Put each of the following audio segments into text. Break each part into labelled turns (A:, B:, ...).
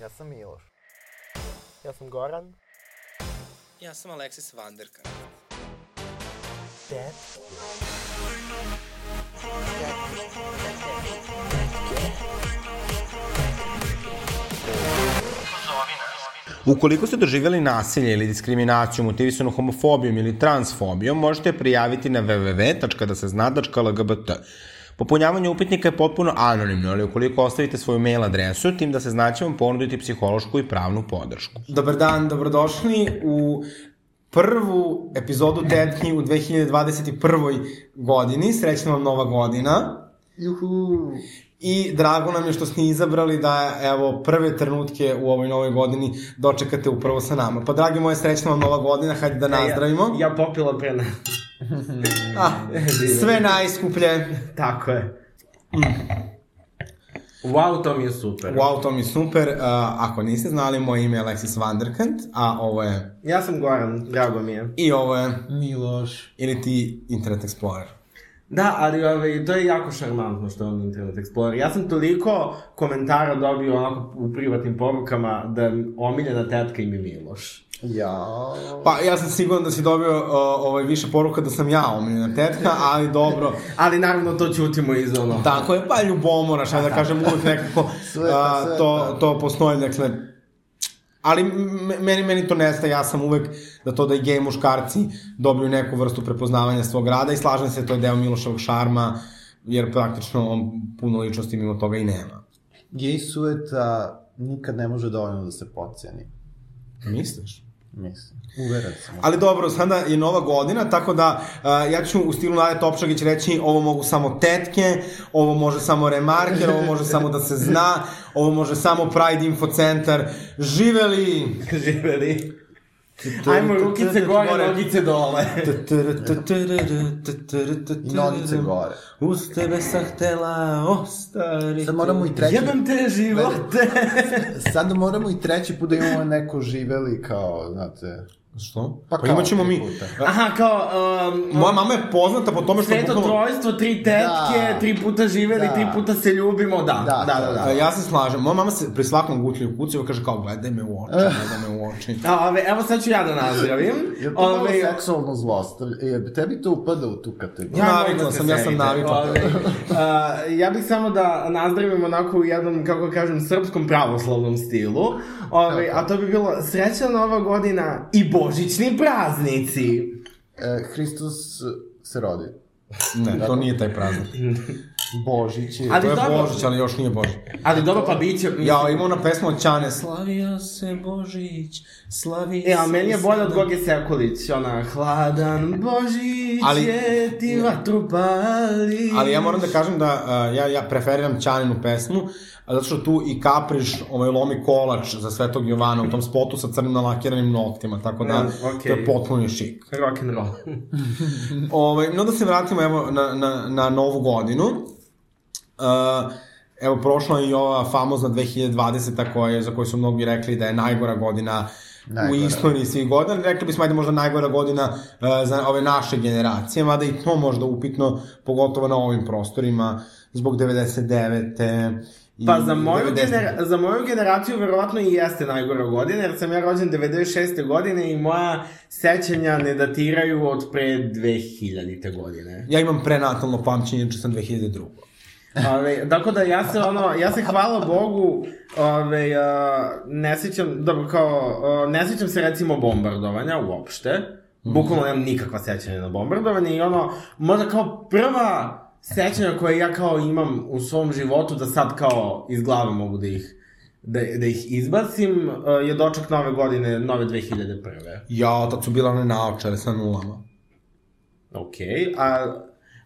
A: Ja sam Miloš. Ja sam Goran.
B: Ja sam Alexis Vanderka.
A: Dead.
C: Ukoliko ste doživjeli nasilje ili diskriminaciju motivisanu homofobijom ili transfobijom, možete je prijaviti na www.dasezna.lgbt. Popunjavanje upitnika je potpuno anonimno, ali ukoliko ostavite svoju mail adresu, tim da se zna će vam ponuditi psihološku i pravnu podršku. Dobar dan, dobrodošli u prvu epizodu Tetnji u 2021. godini. Srećna vam nova godina.
A: Juhu.
C: I drago nam je što ste izabrali da evo prve trenutke u ovoj novoj godini dočekate upravo sa nama. Pa dragi moje, srećna vam nova godina, hajde da nazdravimo.
D: E, Ja, ja popila pre nas.
C: Ah, sve najskuplje.
D: Tako je. Mm. Wow, to mi je super.
C: Wow, to mi je super. Uh, ako niste znali, moje ime je Alexis Vanderkant, a ovo je...
D: Ja sam Goran, drago mi je.
C: I ovo je...
D: Miloš.
C: Ili ti Internet Explorer.
D: Da, ali ove, to je jako šarmantno što je on Internet Explorer. Ja sam toliko komentara dobio onako u privatnim porukama da je omiljena tetka im je Miloš.
A: Ja.
C: Pa ja sam siguran da si dobio uh, ovaj, više poruka da sam ja omiljena tetka, ali dobro.
D: Ali naravno to ćutimo iz ono.
C: Tako je, pa ljubomora, šta da kažem, uvijek nekako
A: Sveta,
C: a, to, to postoji, dakle, Ali m- meni, meni to nestaje, ja sam uvek da to da i gej muškarci dobiju neku vrstu prepoznavanja svog rada i slažem se, to je deo Miloševog šarma, jer praktično on puno ličnosti mimo toga i nema.
A: Gej sueta nikad ne može dovoljno da se poceni.
C: Misliš?
A: Mislim. Uveren sam.
C: Ali dobro, sada je nova godina, tako da uh, ja ću u stilu Nade Topšagić reći ovo mogu samo tetke, ovo može samo remarker, ovo može samo da se zna, ovo može samo Pride Info Centar. Živeli!
D: Živeli. Ajmo rukice gore, nogice dole.
A: I nogice gore.
C: Uz tebe sam htela ostari.
A: Sad moramo i treći...
D: Jebem te živote.
A: Sad moramo i treći put da imamo neko živeli kao, znate...
C: Što?
A: Pa
C: Pa, pa
A: kao
C: imat ćemo
A: tri
C: mi.
A: puta.
D: Aha, kao... Um,
C: Moja mama je poznata po tome što...
D: Sveto
C: bukvalno-
D: trojstvo, tri tetke,
A: Da.
D: da. tri puta živeli,
A: Da.
D: da. tri puta se ljubimo, da.
A: Da,
D: Da, da,
A: da,
D: da.
C: A, Ja se slažem. Moja mama se pri svakom gutlju kuceva kaže kao gledaj me u oči, gledaj me u oči.
D: A, ove, evo sad ću ja da nazdravim.
A: Je to malo
D: Ove,
A: seksualno zlostavljanje? Jer tebi to upada u tu kategoriju?
C: Ja
D: mogu
C: navikla
D: se
C: sam, ja sam
D: setiti.
C: navikla.
D: Ove, Ovaj, a, ja bih samo da nazdravim onako u jednom, kako kažem, srpskom pravoslavnom stilu. Ove, a to bi bilo srećna nova godina i božićni praznici.
A: E, Hristos se rodi.
C: Ne, to nije taj praznik.
A: Božić je...
D: Ali
C: To je
D: dobro.
C: Božić, ali još nije Božić.
D: Ali dobro, pa bit će...
C: Ja, ima ona pesma od Ćane.
E: Slavio se Božić, slavio
D: E, a meni je bolje
C: Da.
D: od Goge Sekulić, ona Hladan Božić
C: Ali-
D: ali, je ti vatru pali
C: Ali ja moram da kažem da uh, ja, ja preferiram Ćaninu pesmu, a zato što tu i kapriš ovaj lomi kolač za Svetog Jovana u tom spotu sa crnim nalakiranim noktima, tako da
D: Mm, okej.
C: to je potpuno šik.
D: Rock and roll.
C: Ovaj, no da se vratimo evo na, na, na novu godinu. Uh, evo, prošla je i ova famozna 2020. Koja je, za koju su mnogi rekli da je najgora godina najgora. u
A: Najgora.
C: istoriji svih godina. Rekli bismo, ajde možda najgora godina uh, za ove naše generacije, mada i to možda upitno, pogotovo na ovim prostorima, zbog 99. i
D: Pa za moju,
C: 90.
D: genera za moju generaciju verovatno i jeste najgora godina, jer sam ja rođen 96. godine i moja sećanja ne datiraju od pre 2000. godine.
C: Ja imam prenatalno pamćenje, znači sam 2002.
D: Ove, tako da ja se ono, ja se hvala Bogu, ove, a, ne sećam, dobro kao, a, ne sećam se recimo bombardovanja uopšte, bukvalno nemam nikakva sećanja na bombardovanje i ono, možda kao prva sećanja koje ja kao imam u svom životu da sad kao iz glave mogu da ih da, da ih izbacim, a, je doček nove godine, nove 2001.
C: Ja, tad su bila one naočare sa nulama.
D: Ok, a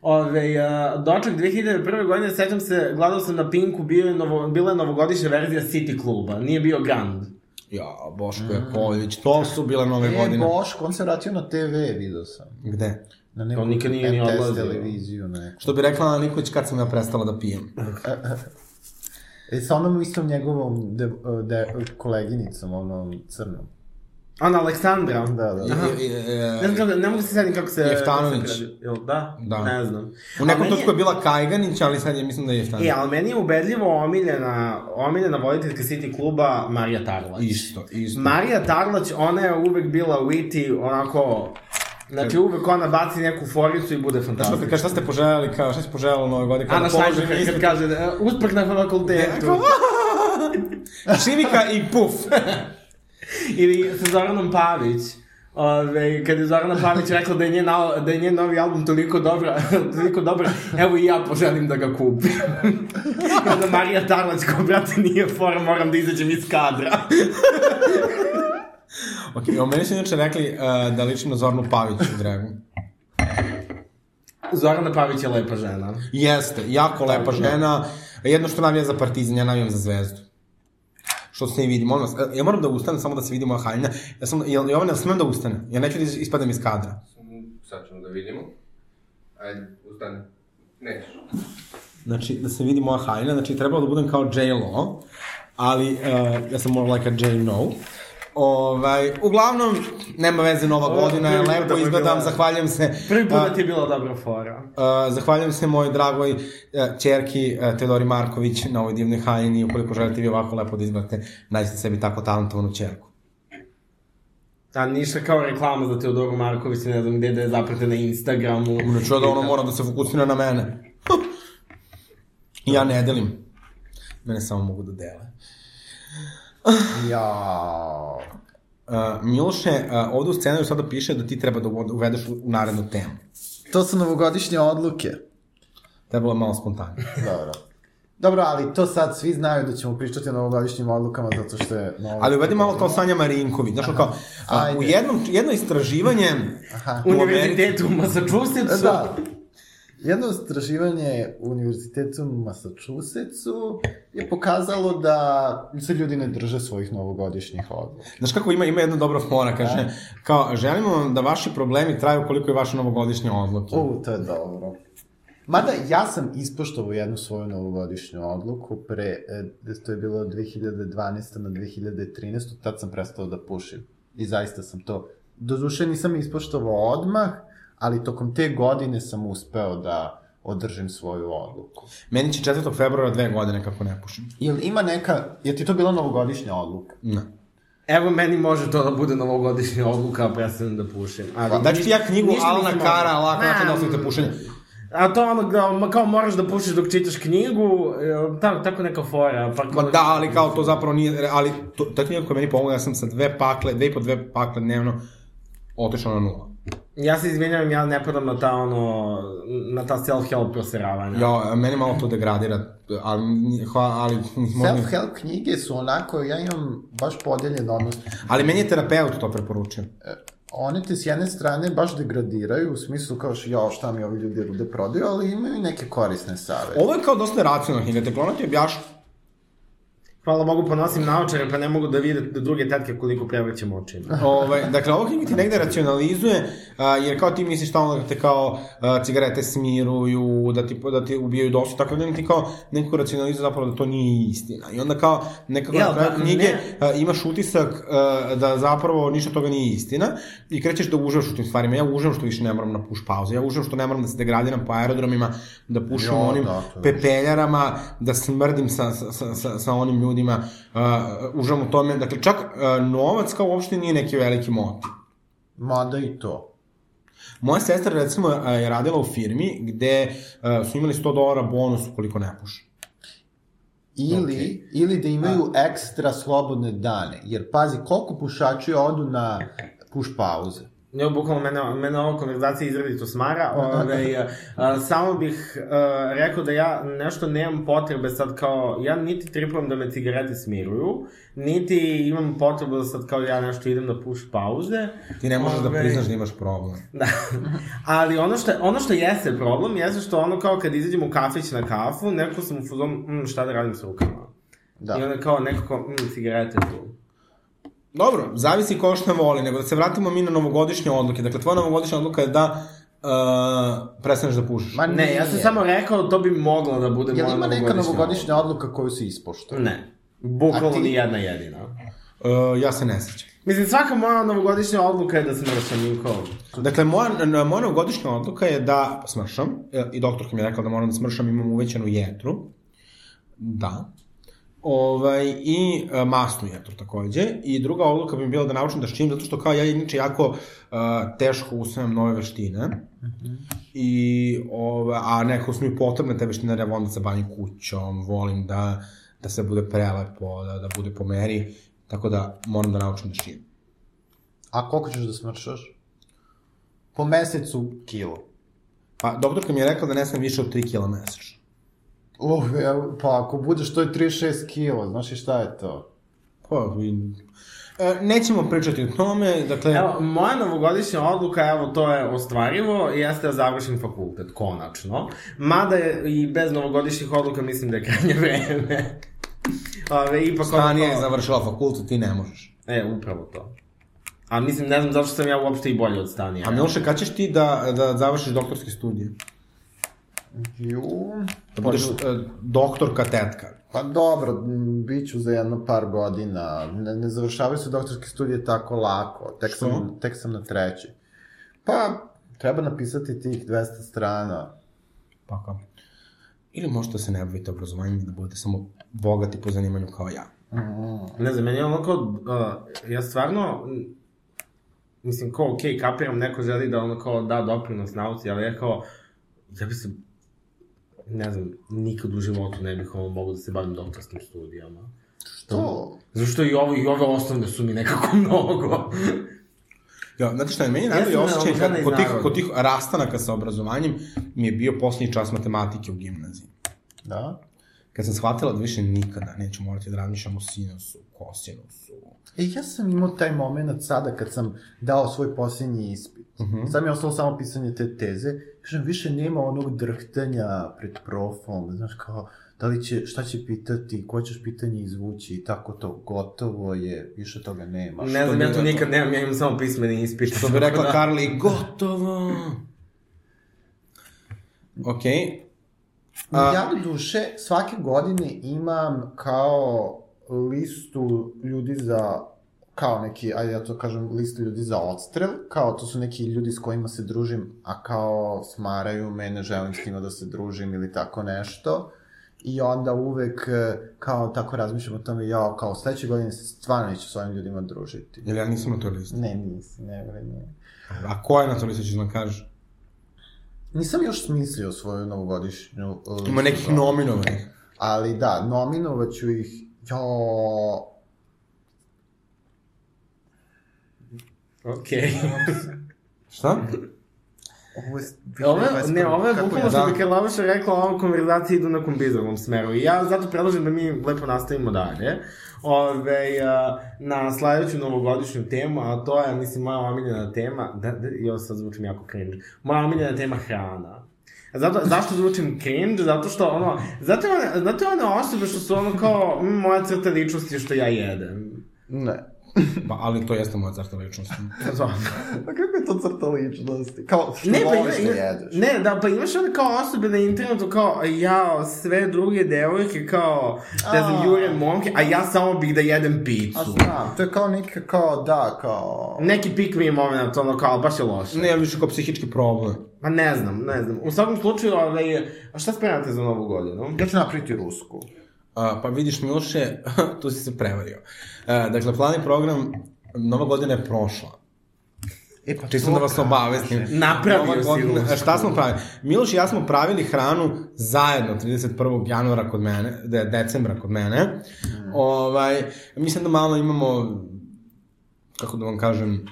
D: ove, a, doček 2001. godine, sećam se, gledao sam na Pinku, bio je novo, bila je novogodišnja verzija City kluba, nije bio Grand.
C: Ja, Boško
D: Mm.
C: Jakovljević, to su bile nove
A: E,
C: godine.
A: Boško, on se vratio na TV, vidio sam.
C: Gde?
A: Na neku
D: On nikad nije ni
A: RTS
D: odlazio.
A: televiziju, na neku.
C: Što bi rekla Ana Nikolić kad sam ja prestala da pijem.
A: E, sa onom istom njegovom de, de, koleginicom, onom crnom.
D: Ana Aleksandra.
A: Da, da, da.
C: I- i- e,
D: Ne znam kako, ne mogu se sjetiti kako se...
C: Jeftanović.
D: kako se pređe. Jel, da?
C: Da.
D: Ne znam.
C: U nekom
D: A meni
C: točku je bila Kajganić, ali sad je mislim da je Jeftanović.
D: E, ali meni je ubedljivo omiljena, omiljena voditeljka City kluba Marija Tarlać.
C: Isto, isto.
D: Marija Tarlać, ona je uvek bila witty, onako... Znači, uvek ona baci neku foricu i bude
C: Znaš što kad
D: fantastična.
C: kaže šta ste poželjeli, kao šta si poželjela u Novoj godini?
D: Ana Štajnberg
C: položim
D: Pa
C: ispit-
D: kad kaže, e, uspeh na fakultetu.
C: Šivika i puf.
D: Ili sa Zoranom Pavić. Ove, kad je Zorana Pavić rekla da je, njen, al- da je njen novi album toliko dobra, toliko dobra, evo i ja poželim da ga kupim. I onda Marija Tarlać kao, brate, nije fora, moram da izađem iz kadra.
C: ok, o meni su inače rekli uh, da ličim na Zornu Pavić u Dragu.
D: Zorana Pavić je lepa žena.
C: Jeste, jako lepa
D: da.
C: žena. Jedno što navija za partizan, ja navijam za zvezdu. Što se ne vidim, molim vas, e, ja moram da ustanem samo da se vidimo moja haljina. Ja sam, jel, Jovana, smem da ustane? Ja neću da ispadam iz kadra.
F: Sad ćemo da vidimo. Ajde, ustani. Nećeš.
C: Znači, da se vidi moja haljina, znači trebalo da budem kao J-Lo, ali uh, ja sam more like a J-No. Ovaj, uglavnom, nema veze, nova
D: Ovo,
C: godina je
D: prvi put da
C: lepo,
D: mu je
C: izgledam,
D: bila-
C: zahvaljujem se.
D: Prvi put
C: a,
D: da ti je bila dobra fora.
C: Uh, zahvaljujem se mojoj dragoj uh, čerki uh, Teodori Marković na ovoj divnoj haljini. Ukoliko želite vi ovako lepo da izbrate, nađite sebi tako talentovanu čerku.
D: A ništa kao reklama za Teodoru Marković, ne znam gde da je zaprate na Instagramu.
C: Znači, ja da ona mora da se fokusira na mene. ja ne delim. Mene samo mogu da dele.
A: Jao.
C: Uh, Miloše, uh, ovde u scenariju sada piše da ti treba da uvod- uvedeš u narednu temu.
A: To su novogodišnje odluke.
C: Trebalo je malo spontano.
A: Dobro. Dobro, ali to sad svi znaju da ćemo pričati o novogodišnjim odlukama zato što je... Novo... Da.
C: Ali uvedi malo kao Sanja Marinković. Znaš, kao, a, u
A: Ajde.
C: jednom, jedno istraživanje...
A: Aha.
C: u Americi-
D: Univerzitetu u Massachusettsu.
A: Da. Jedno istraživanje u Univerzitetu u Massachusettsu je pokazalo da se ljudi ne drže svojih novogodišnjih odluka.
C: Znaš kako ima, ima jedna dobra fora, kaže,
A: Da.
C: kao, želimo vam da vaši problemi traju koliko je vaša novogodišnja odluka.
A: U, to je dobro. Mada ja sam ispoštovao jednu svoju novogodišnju odluku pre, e, to je bilo od 2012. na 2013. Tad sam prestao da pušim. I zaista sam to, doduše nisam ispoštovao odmah, ali tokom te godine sam uspeo da održim svoju odluku.
C: Meni će 4. februara dve godine kako ne pušim.
A: Jel ima neka, je ti to bila novogodišnja odluka?
C: Ne.
D: Evo, meni može to da bude novogodišnja odluka, a prestanem da pušim.
A: Pa,
D: Ali,
C: Da ću ti ja knjigu
D: Ništa
C: Alna
D: nisam
C: Kara,
D: mogla.
C: lako način da
D: Ma,
C: ostavite pušenje.
D: a to ono, kao, kao moraš da pušiš dok čitaš knjigu, e, ta, tako neka fora. Pa,
C: Ma da, ali kao to zapravo nije, ali to, ta knjiga koja je meni pomogla, ja sam sa dve pakle, dve i po dve pakle dnevno otišao na nula.
D: Ja se izvinjam, ja ne padam na ta, ono, na ta self-help proseravanja.
C: Ja, meni malo to degradira, ali, hva, ali, možda,
A: Self-help knjige su onako, ja imam baš podeljen odnos.
C: ali meni je terapeut to preporučio.
A: One te s jedne strane baš degradiraju, u smislu kao što, jao, šta mi ovi ljudi rude prodaju, ali imaju i neke korisne savete.
C: Ovo je kao dosta racionalna knjiga, dakle ona ti objaš,
D: Hvala Bogu, ponosim naočare, pa ne mogu da vide do druge tetke koliko prevrćem očima.
C: ovaj, dakle ovo knjiga ti negde racionalizuje, a, jer kao ti misliš tamo da te kao a, cigarete smiruju, da ti, da ti ubijaju dosu, tako da ti kao neko racionalizuje zapravo da to nije istina. I onda kao nekako
D: Jel,
C: na kraju
D: da,
C: knjige
D: ne.
C: a, imaš utisak a, da zapravo ništa od toga nije istina i krećeš da uživaš u tim stvarima. Ja uživam što više ne moram na puš pauzu, ja uživam što ne moram da se degradiram po aerodromima, da pušim
A: Jo,
C: onim
A: da, to je
C: pepeljarama, da smrdim sa, sa, sa, sa onim ljudima, uh, užam u tome. Dakle, čak uh, novac kao uopšte nije neki veliki motiv.
A: Mada i to.
C: Moja sestra, recimo, uh, je radila u firmi gde uh, su imali 100 dolara bonus ukoliko ne puši.
A: Ili, okay. ili da imaju A. ekstra slobodne dane. Jer pazi, koliko pušači odu na puš pauze.
D: Ne, bukvalno mene, mene ova konverzacija izredito smara. Ove, a, a, samo bih a, rekao da ja nešto nemam potrebe sad kao, ja niti tripujem da me cigarete smiruju, niti imam potrebu da sad kao ja nešto idem da puš pauze.
C: Ti ne možeš da
D: Ove,
C: priznaš da imaš problem.
D: Da. Ali ono što, ono što jeste problem, jeste što ono kao kad izađem u kafić na kafu, neko sam u fuzom, mm, šta da radim s rukama. Da. I
A: Da.
D: onda kao nekako, mm, cigarete tu.
C: Dobro, zavisi ko što voli, nego da se vratimo mi na novogodišnje odluke. Dakle, tvoja novogodišnja odluka je da uh, prestaneš da pušiš.
A: Ma
D: Ne, ja sam
A: nije.
D: samo rekao, to bi moglo da bude
A: Jel
D: moja
A: ima neka
D: novogodišnja
A: novogodišnja odluka koju se ispoštuje?
D: Ne. Bukvalno
A: A ti?
D: ni jedna jedina.
C: Uh, ja se ne sećam.
D: Mislim, svaka moja novogodišnja odluka je da smršam i kao...
C: Dakle, moja, n- moja novogodišnja odluka je da smršam, e, i doktorka mi je rekla da moram da smršam, imam uvećanu jetru, da, ovaj, i e, masnu jetru takođe, i druga odluka bi mi bila da naučim da ščim, zato što kao ja inače jako e, teško usvajam nove veštine, i, ova, a nekako su mi potrebne te veštine, jer ja volim da se bavim kućom, volim da, da se bude prelepo, da, da bude po meri, tako da moram da naučim da ščim.
A: A koliko ćeš da smršaš? Po mesecu kilo.
C: Pa, doktorka mi je rekla da ne smem više od 3 kila mesečno.
A: Uh, evo, pa ako budeš to je 36 kilo, znaš i šta je to?
C: Pa, i... E, nećemo pričati o tome, dakle...
D: Evo, moja novogodišnja odluka, evo, to je ostvarivo, jeste da završim fakultet, konačno. Mada je i bez novogodišnjih odluka mislim da je krajnje vreme. Ove, ipak ono
C: Tanija je
D: kao-
C: završila fakultet, ti ne možeš.
D: E, upravo to. A mislim, ne znam zašto sam ja uopšte i bolje od Stanija.
C: A Miloše, kad ćeš ti da, da završiš doktorski studij?
A: Ju...
C: Da budeš e, doktorka tetka.
A: Pa dobro, m, bit ću za jedno par godina. Ne, ne završavaju se doktorske studije tako lako. Tek sam, tek sam na treći. Pa, treba napisati tih 200 strana.
C: Pa kao... Ili možete da se ne bavite obrazovanjem i da budete samo bogati po zanimanju kao ja.
D: Ne znam, meni je ono kao, uh, ja stvarno, m, mislim, kao, okej, okay, kapiram, neko želi da ono kao da doprinos nauci, ali ja kao, ja bi se, ne znam, nikad u životu ne bih ono mogu da se bavim doktorskim studijama.
A: Što?
D: Zašto i ovo, i ove osnovne su mi nekako mnogo.
C: Ja, znate šta, je, meni je
D: sam
C: najbolje osjećaj
D: naoružana
C: kad
D: iz
C: kod tih,
D: naroda.
C: kod tih rastanaka sa obrazovanjem mi je bio posljednji čas matematike u gimnaziji.
A: Da?
C: Kad sam shvatila da više nikada neću morati da razmišljam o sinusu, kosinusu,
A: E, ja sam imao taj moment sada kad sam dao svoj posljednji ispit. Uh
D: Mhm.
C: Mhm.
A: -huh. Sad mi je ostalo samo pisanje te teze. Kažem, više nema onog drhtanja pred profom, znaš kao, da li će, šta će pitati, koje ćeš pitanje izvući i tako to, gotovo je, više toga nema.
C: Pa
D: ne znam, ja to nikad nemam, ja imam samo pismeni ispit.
C: Što bi rekla Karli, gotovo! Ok. A-
A: Ja do duše svake godine imam kao listu ljudi za kao neki, ajde ja to kažem, listu ljudi za odstrel, kao to su neki ljudi s kojima se družim, a kao smaraju me, ne želim s njima da se družim ili tako nešto. I onda uvek e, kao tako razmišljam o tome, ja kao sledeće godine se stvarno neću s ovim ljudima družiti.
C: Jel ja nisam na toj listi?
A: Ne, nisam, ne, ne, ne.
C: A ko je na toj listi, ćeš nam kaži?
A: Nisam još smislio svoju novogodišnju... e,
C: Ima
A: listu
C: nekih
A: za-
C: nominovanih.
A: Ali da, nominovaću ih, jo,
D: Okej.
C: Šta?
A: ovo je...
D: Ove, ne, ovo je
A: Kako
D: bukvalno što
C: da?
D: bi Karlaviša rekla, ova konverzacija idu na kombizovom smeru. I ja zato predlažem da mi lepo nastavimo dalje. Ove, a, na sledeću novogodišnju temu, a to je, mislim, moja omiljena tema, da, da, jo, sad zvučim jako cringe, moja omiljena tema hrana. Zato, zašto zvučim cringe? Zato što ono, zato je one, zato je one osobe što su ono kao "Mm, moja crta ličnosti je što ja jedem.
A: Ne.
C: Pa, ali to jeste moja crta ličnosti.
A: Pa kako je to crta ličnosti? Kao, što
D: Ne, pa ima,
A: voliš da jedeš.
D: ima, ne, da, pa imaš onda kao osobe na internetu kao, ja, sve druge devojke kao, ne znam,
A: A.
D: jure momke, a ja samo bih da jedem
A: A
D: picu.
A: znam, to je kao neka, kao, da, kao...
D: Neki pick me moment, ono kao, baš je loše.
C: Ne, ja više kao psihički problem.
D: Ma ne znam, ne znam. U svakom slučaju, ovaj, a šta spremate za novu godinu?
A: Ja ću napraviti rusku.
C: A, pa vidiš, Miloše, tu si se prevario. A, dakle, plan i program, nova godina je prošla.
A: E, pa
C: Čisto da vas obavestim.
D: Napravio si
C: godina,
D: rusku.
C: šta smo pravili? Miloš i ja smo pravili hranu zajedno 31. januara kod mene, de, decembra kod mene.
A: Mhm.
C: Ovaj, mislim da malo imamo, kako da vam kažem,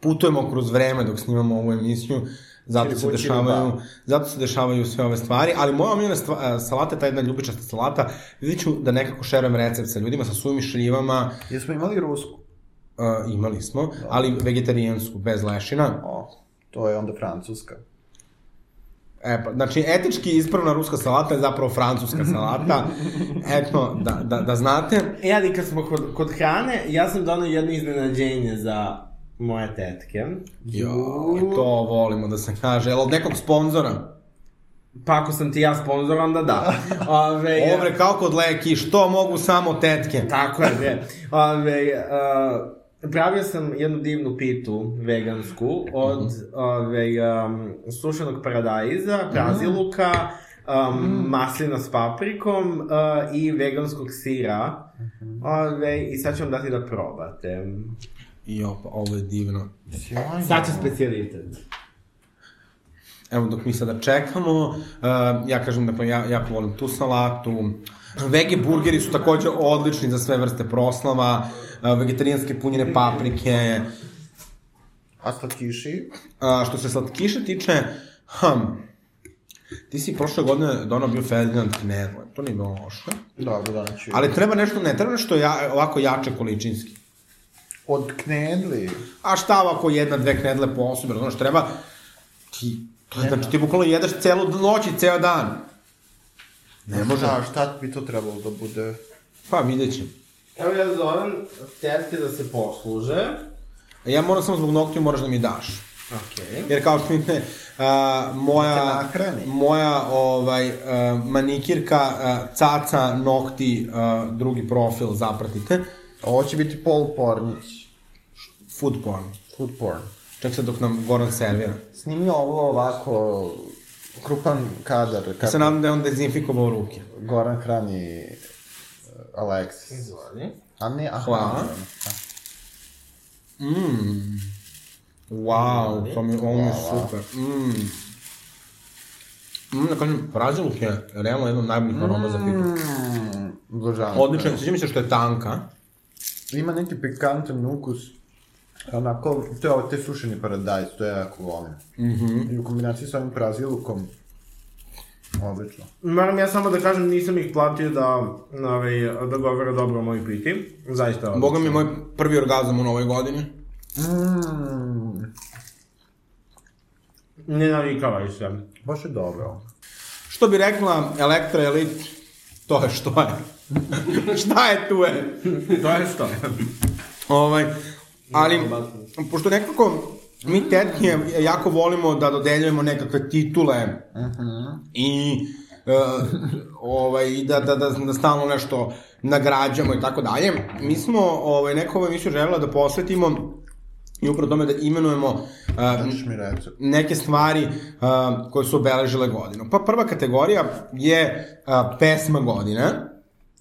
C: putujemo kroz vreme dok snimamo ovu emisiju, zato
A: Ili
C: se,
A: kući
C: dešavaju,
A: ili bavu.
C: zato se dešavaju sve ove stvari, ali moja omiljena stva- eh, salata je ta jedna ljubičasta salata, vidit ću da nekako šerujem recept sa ljudima, sa suvim šljivama,
A: Jesmo imali rusku?
C: eh, imali smo, ali vegetarijansku, bez lešina.
A: O, to je onda francuska.
C: E, pa, znači, etički ispravna ruska salata je zapravo francuska salata. Eto, da, da, da znate.
D: E, ali kad smo kod, kod hrane, ja sam donao jedno iznenađenje za moje tetke.
C: Jo, to volimo da se kaže. Jel od nekog sponzora?
D: Pa ako sam ti ja sponzor, onda da. Ove,
C: Ovre, kao kod leki, što mogu samo tetke?
D: Tako je, bre. Ove, uh, Pravio sam jednu divnu pitu vegansku od ove, um, sušenog paradajza, praziluka, um, maslina s paprikom uh, i veganskog sira. Ove, I sad ću vam dati da probate.
C: Jo, pa ovo je divno.
D: Sad će specijalitet.
C: Evo dok mi sada čekamo, eh, ja kažem da pa ja, jako volim tu salatu. Vege burgeri su takođe odlični za sve vrste proslava, eh, vegetarijanske punjene paprike.
A: A slatkiši?
C: A, što se slatkiša tiče, hm, ti si prošle godine donao bio Ferdinand Knerle, to nije bilo loše.
A: Dobro, znači.
C: Ali treba nešto, ne treba nešto ja, ovako jače količinski.
A: Od knedli?
C: A šta ovako jedna, dve knedle po osobi, razumiješ, treba ti, to je, znači ti bukvalno jedeš celu noć i ceo dan. Ne može.
A: Šta, Da, šta bi to trebalo da bude?
C: Pa vidjet ćemo.
D: Evo ja zovem tetke da se posluže.
C: A Ja moram samo zbog noktiju moraš da mi daš.
D: Okej.
C: Jer kao što vidite, a, moja,
A: nahrani.
C: moja ovaj, a, manikirka a, caca nokti a, drugi profil, zapratite.
A: Ovo će biti pol pornić.
C: Food porn.
A: Food porn.
C: Čak se dok nam Goran servira.
A: Snimi ovo ovako, krupan kadar,
C: Ja se
A: kako
C: nadam da je on dezinfikovao ruke.
A: Goran hrani eh, Alexis. A ne, aha.
C: Hvala. Mm. Wow, to mi, ovo mi je super. Mm. Mm, da kažem, praziluk je realno jedan od najboljih aroma za pitu.
A: Mm, Obožavam.
C: Odličan, sviđa mi se što je tanka.
A: Ima neki pikantan ukus. Onako, to je ovo, te sušeni paradajz, to ja jako volim.
D: Mhm.
A: Mm-hmm. I u kombinaciji sa ovim prazilukom. Odlično.
D: Moram ja samo da kažem, nisam ih platio da, ovaj, da govore dobro o mojoj piti. Zaista ovo.
C: Boga mi je moj prvi orgazam u novoj godini.
A: Mm,
D: Ne navikavaju se.
A: baš je dobro.
C: Što bi rekla Elektra Elite, to je što je. Šta je tu je?
D: to je što.
C: Ovaj, ali, pošto nekako mi tetke jako volimo da dodeljujemo nekakve titule i e, ovaj, i da, da, da, da stalno nešto nagrađamo i tako dalje. Mi smo ovaj, neko ovo emisiju želela da posvetimo i upravo tome da imenujemo e,
A: Daš mi recept.
C: neke stvari uh, koje su obeležile godinu. Pa prva kategorija je uh, pesma godine.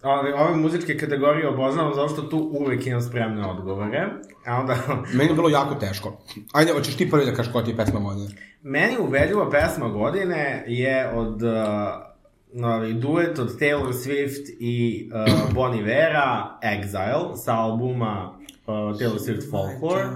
D: Ove, ove muzičke kategorije oboznavam zato što tu uvek imam spremne odgovore. A onda,
C: Meni je bilo jako teško. Ajde, hoćeš ti prvi da kažeš koja ti je pesma godine?
D: meni ubedljiva pesma godine je od... Uh, ovaj, duet od Taylor Swift i uh, Bon Ivera, Exile, sa albuma uh, Taylor Swift Folklore.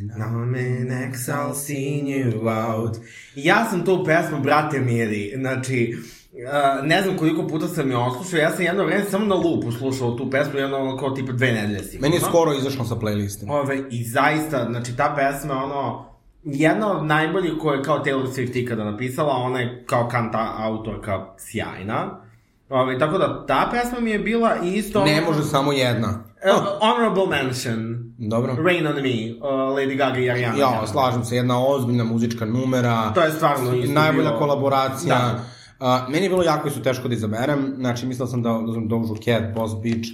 D: Now I'm in exile, seeing you out. Ja sam tu pesmu, brate mili, znači, uh, ne znam koliko puta sam je oslušao, ja sam jedno vreme samo na lupu slušao tu pesmu, jedno ono kao tipa dve nedelje sigurno.
C: Meni je skoro izašlo sa playlistima.
D: Ove, I zaista, znači ta pesma je ono, jedna od najboljih koje je kao Taylor Swift ikada napisala, ona je kao kanta autorka sjajna. Ove, tako da ta pesma mi je bila i isto...
C: Ne može samo jedna.
D: E, honorable mention.
C: Dobro.
D: Rain on me, uh, Lady Gaga i Ariana.
C: Ja, slažem se, jedna ozbiljna muzička numera.
D: To je stvarno isto
C: Najbolja
D: bilo-
C: kolaboracija.
D: Da.
C: A, meni je bilo jako isto teško da izaberem, znači mislio sam da, da sam dožu Cat, Boss Beach,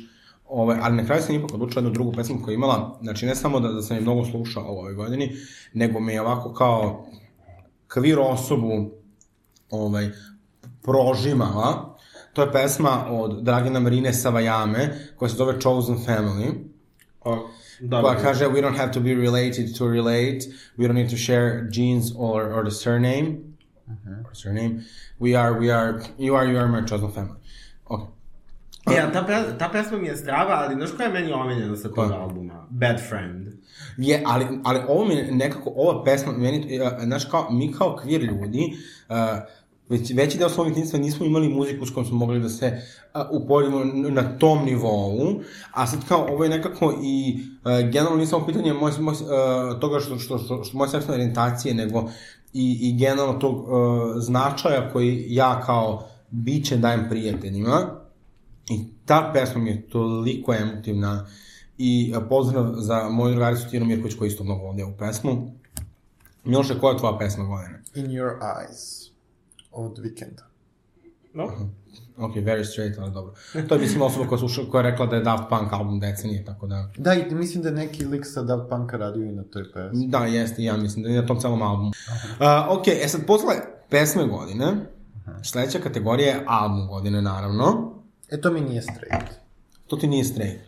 C: ovaj, ali na kraju sam ipak odlučio jednu drugu pesmu koju je imala, znači ne samo da, da sam je mnogo slušao u ovoj godini, nego mi je ovako kao kvir osobu ovaj, prožimala. To je pesma od Dragina Marine Savajame, koja se zove Chosen Family.
D: O,
C: Koja
D: dobro.
C: kaže, we don't have to be related to relate, we don't need to share genes or, or the surname, or surname, we are, we are, you are, you are my chosen family. Okay.
D: Ja, E, ta, pe, ta pesma mi je strava, ali znaš koja je meni omiljena sa tog
C: Koja?
D: albuma? Bad Friend.
C: Je, ali, ali ovo mi je nekako, ova pesma, meni, eh, znaš, kao, mi kao kvir ljudi, eh, već, veći deo svog djetinjstva nismo imali muziku s kojom smo mogli da se uh, upoljimo n- na tom nivou, a sad kao ovo je nekako i uh, generalno nisam pitanje moj, moj, uh, toga što, što, što, što moje seksualne orijentacije, nego i, i generalno tog uh, značaja koji ja kao biće dajem prijateljima, I ta pesma mi je toliko emotivna i e, pozdrav za moju drugaricu Tinu Mirković koja isto mnogo vodi ovu pesmu. Miloše, koja je tvoja pesma godine?
A: In your eyes. Od vikenda.
D: No.
C: Ok, very straight, ali dobro. To je mislim osoba koja, sluša, koja je rekla da je Daft Punk album decenije, tako da...
A: Da, i mislim da je neki lik sa Daft Punka radio i na toj pesmi.
C: Da, jeste, ja mislim da je na tom celom albumu. Uh, ok, e sad posle pesme godine, sledeća kategorija je album godine, naravno.
A: E, to mi nije straight.
C: To ti nije straight,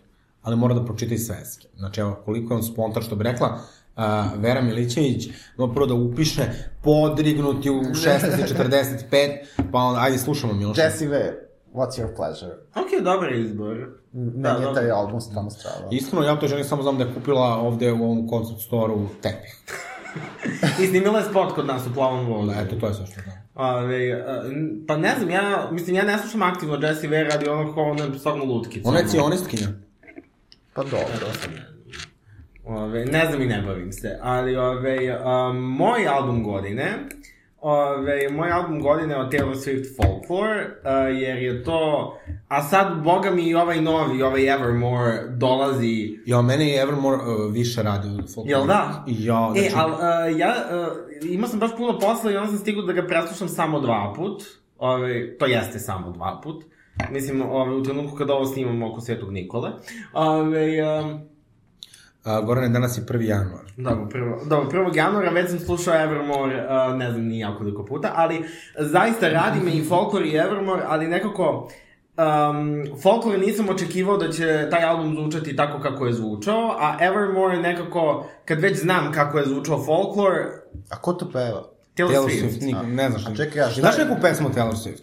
C: ali mora da pročitaj sveske. Znači, evo, koliko je on spontan, što bi rekla, Uh, Vera Milićević, no prvo da upiše podignuti u 16.45, pa onda, ajde slušamo Miloša.
A: Jesse Ware, What's Your Pleasure?
D: Ok, dobar izbor.
A: Meni
D: Da,
A: je
D: dobro.
A: taj album stvarno strava.
C: Iskreno, ja to želim samo znam da je kupila ovde u ovom concert store-u tepih.
D: I snimila je spot kod nas u plavom volu.
C: Eto, to je sve što znam.
D: Ove, a, n- pa ne znam, ja, mislim, ja ne slušam aktivno Jessie Ware radi ono kao ona stvarno lutkica.
C: Ona je cionistkinja.
A: Pa dobro.
D: Ove, ne znam i ne bavim se, ali ove, a, moj album godine, ove, moj album godine je od Taylor Swift Folklore, a, jer je to, a sad, boga mi, i ovaj novi, ovaj Evermore dolazi
C: Ja, meni je Evermore uh, više radi od folklora.
D: Jel da?
C: Ja, znači...
D: E, ali uh, ja uh, imao sam baš puno posla i onda sam stigao da ga preslušam samo dva put. Ove, to jeste samo dva put. Mislim, ove, u trenutku kada ovo snimam oko Svetog Nikole. Ove, um,
C: A, Gorane, danas je 1. januar.
D: Dobro, prvo, dobro, prvog januara već sam slušao Evermore, uh, ne znam ni ja koliko puta, ali zaista radi me i Folklore i Evermore, ali nekako um, Folklore nisam očekivao da će taj album zvučati tako kako je zvučao, a Evermore nekako, kad već znam kako je zvučao Folklore,
A: A ko to peva?
D: Taylor,
C: Taylor
D: Swift.
C: Swift, nik- ne znaš.
A: A čekaj, a šta
C: Znaš
A: je-
C: neku pesmu Taylor Swift?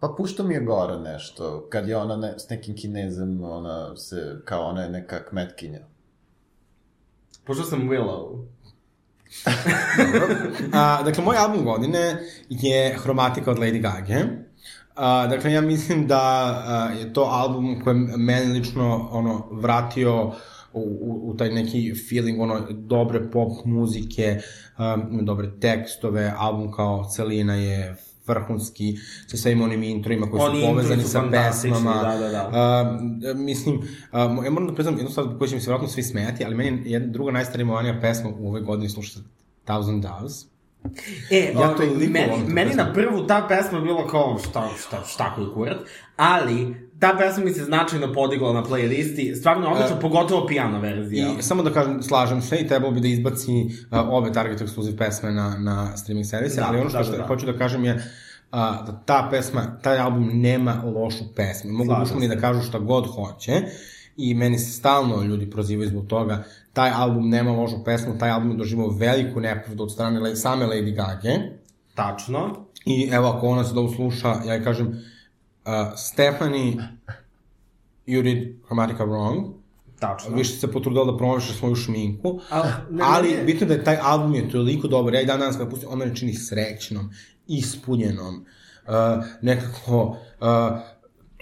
A: Pa puštao mi je gore nešto, kad je ona ne, s nekim kinezom, ona se, kao ona je neka kmetkinja.
D: Pošto sam Willow.
C: A, dakle, moj album godine je Hromatika od Lady Gaga. A, dakle, ja mislim da a, je to album koji je meni lično ono, vratio u, u, u taj neki feeling ono, dobre pop muzike, um, dobre tekstove, album kao celina je vrhunski, sa svim onim introima koji
D: Oni
C: su
D: introi
C: povezani
D: su
C: sa
D: fantastični,
C: pesmama.
D: da, da, da.
C: A, mislim, a, mo- ja moram da priznam jednu stvar koju će mi se vratno svi smejati, ali meni je jedna druga najstarimovanija pesma u ovoj godini slušati Thousand Doves.
D: E,
C: Ja
D: ove,
C: toliko
D: meni,
C: volim tu
D: meni
C: pesmu.
D: na prvu ta pesma bila kao šta, šta, šta koji kurat, ali ta pesma mi se značajno podigla na playlisti, stvarno odlično, pogotovo pijano verzija.
C: E. I samo da kažem, slažem se i trebalo bi da izbaci uh, obe Target Exclusive pesme na, na streaming servise,
D: Da,
C: ali ono što,
D: da,
C: što
D: da, da.
C: hoću da kažem je a, da ta pesma, taj album nema lošu pesmu. Mogu
D: Slažem
C: dušmani da kažu šta god hoće i meni se stalno ljudi prozivaju zbog toga. Taj album nema lošu pesmu, taj album je doživao veliku nepravdu od strane le- same Lady Gaga.
D: Tačno.
C: I evo, ako ona se da usluša, ja joj kažem, uh, Stephanie, you did Chromatica wrong.
D: Tačno.
C: Više se potrudila da promoviše svoju šminku.
D: Al,
C: Ne, ali ne, bitno je da je taj album je toliko dobar, ja i dan danas kada pustim, on mene čini srećnom, ispunjenom, uh, nekako uh,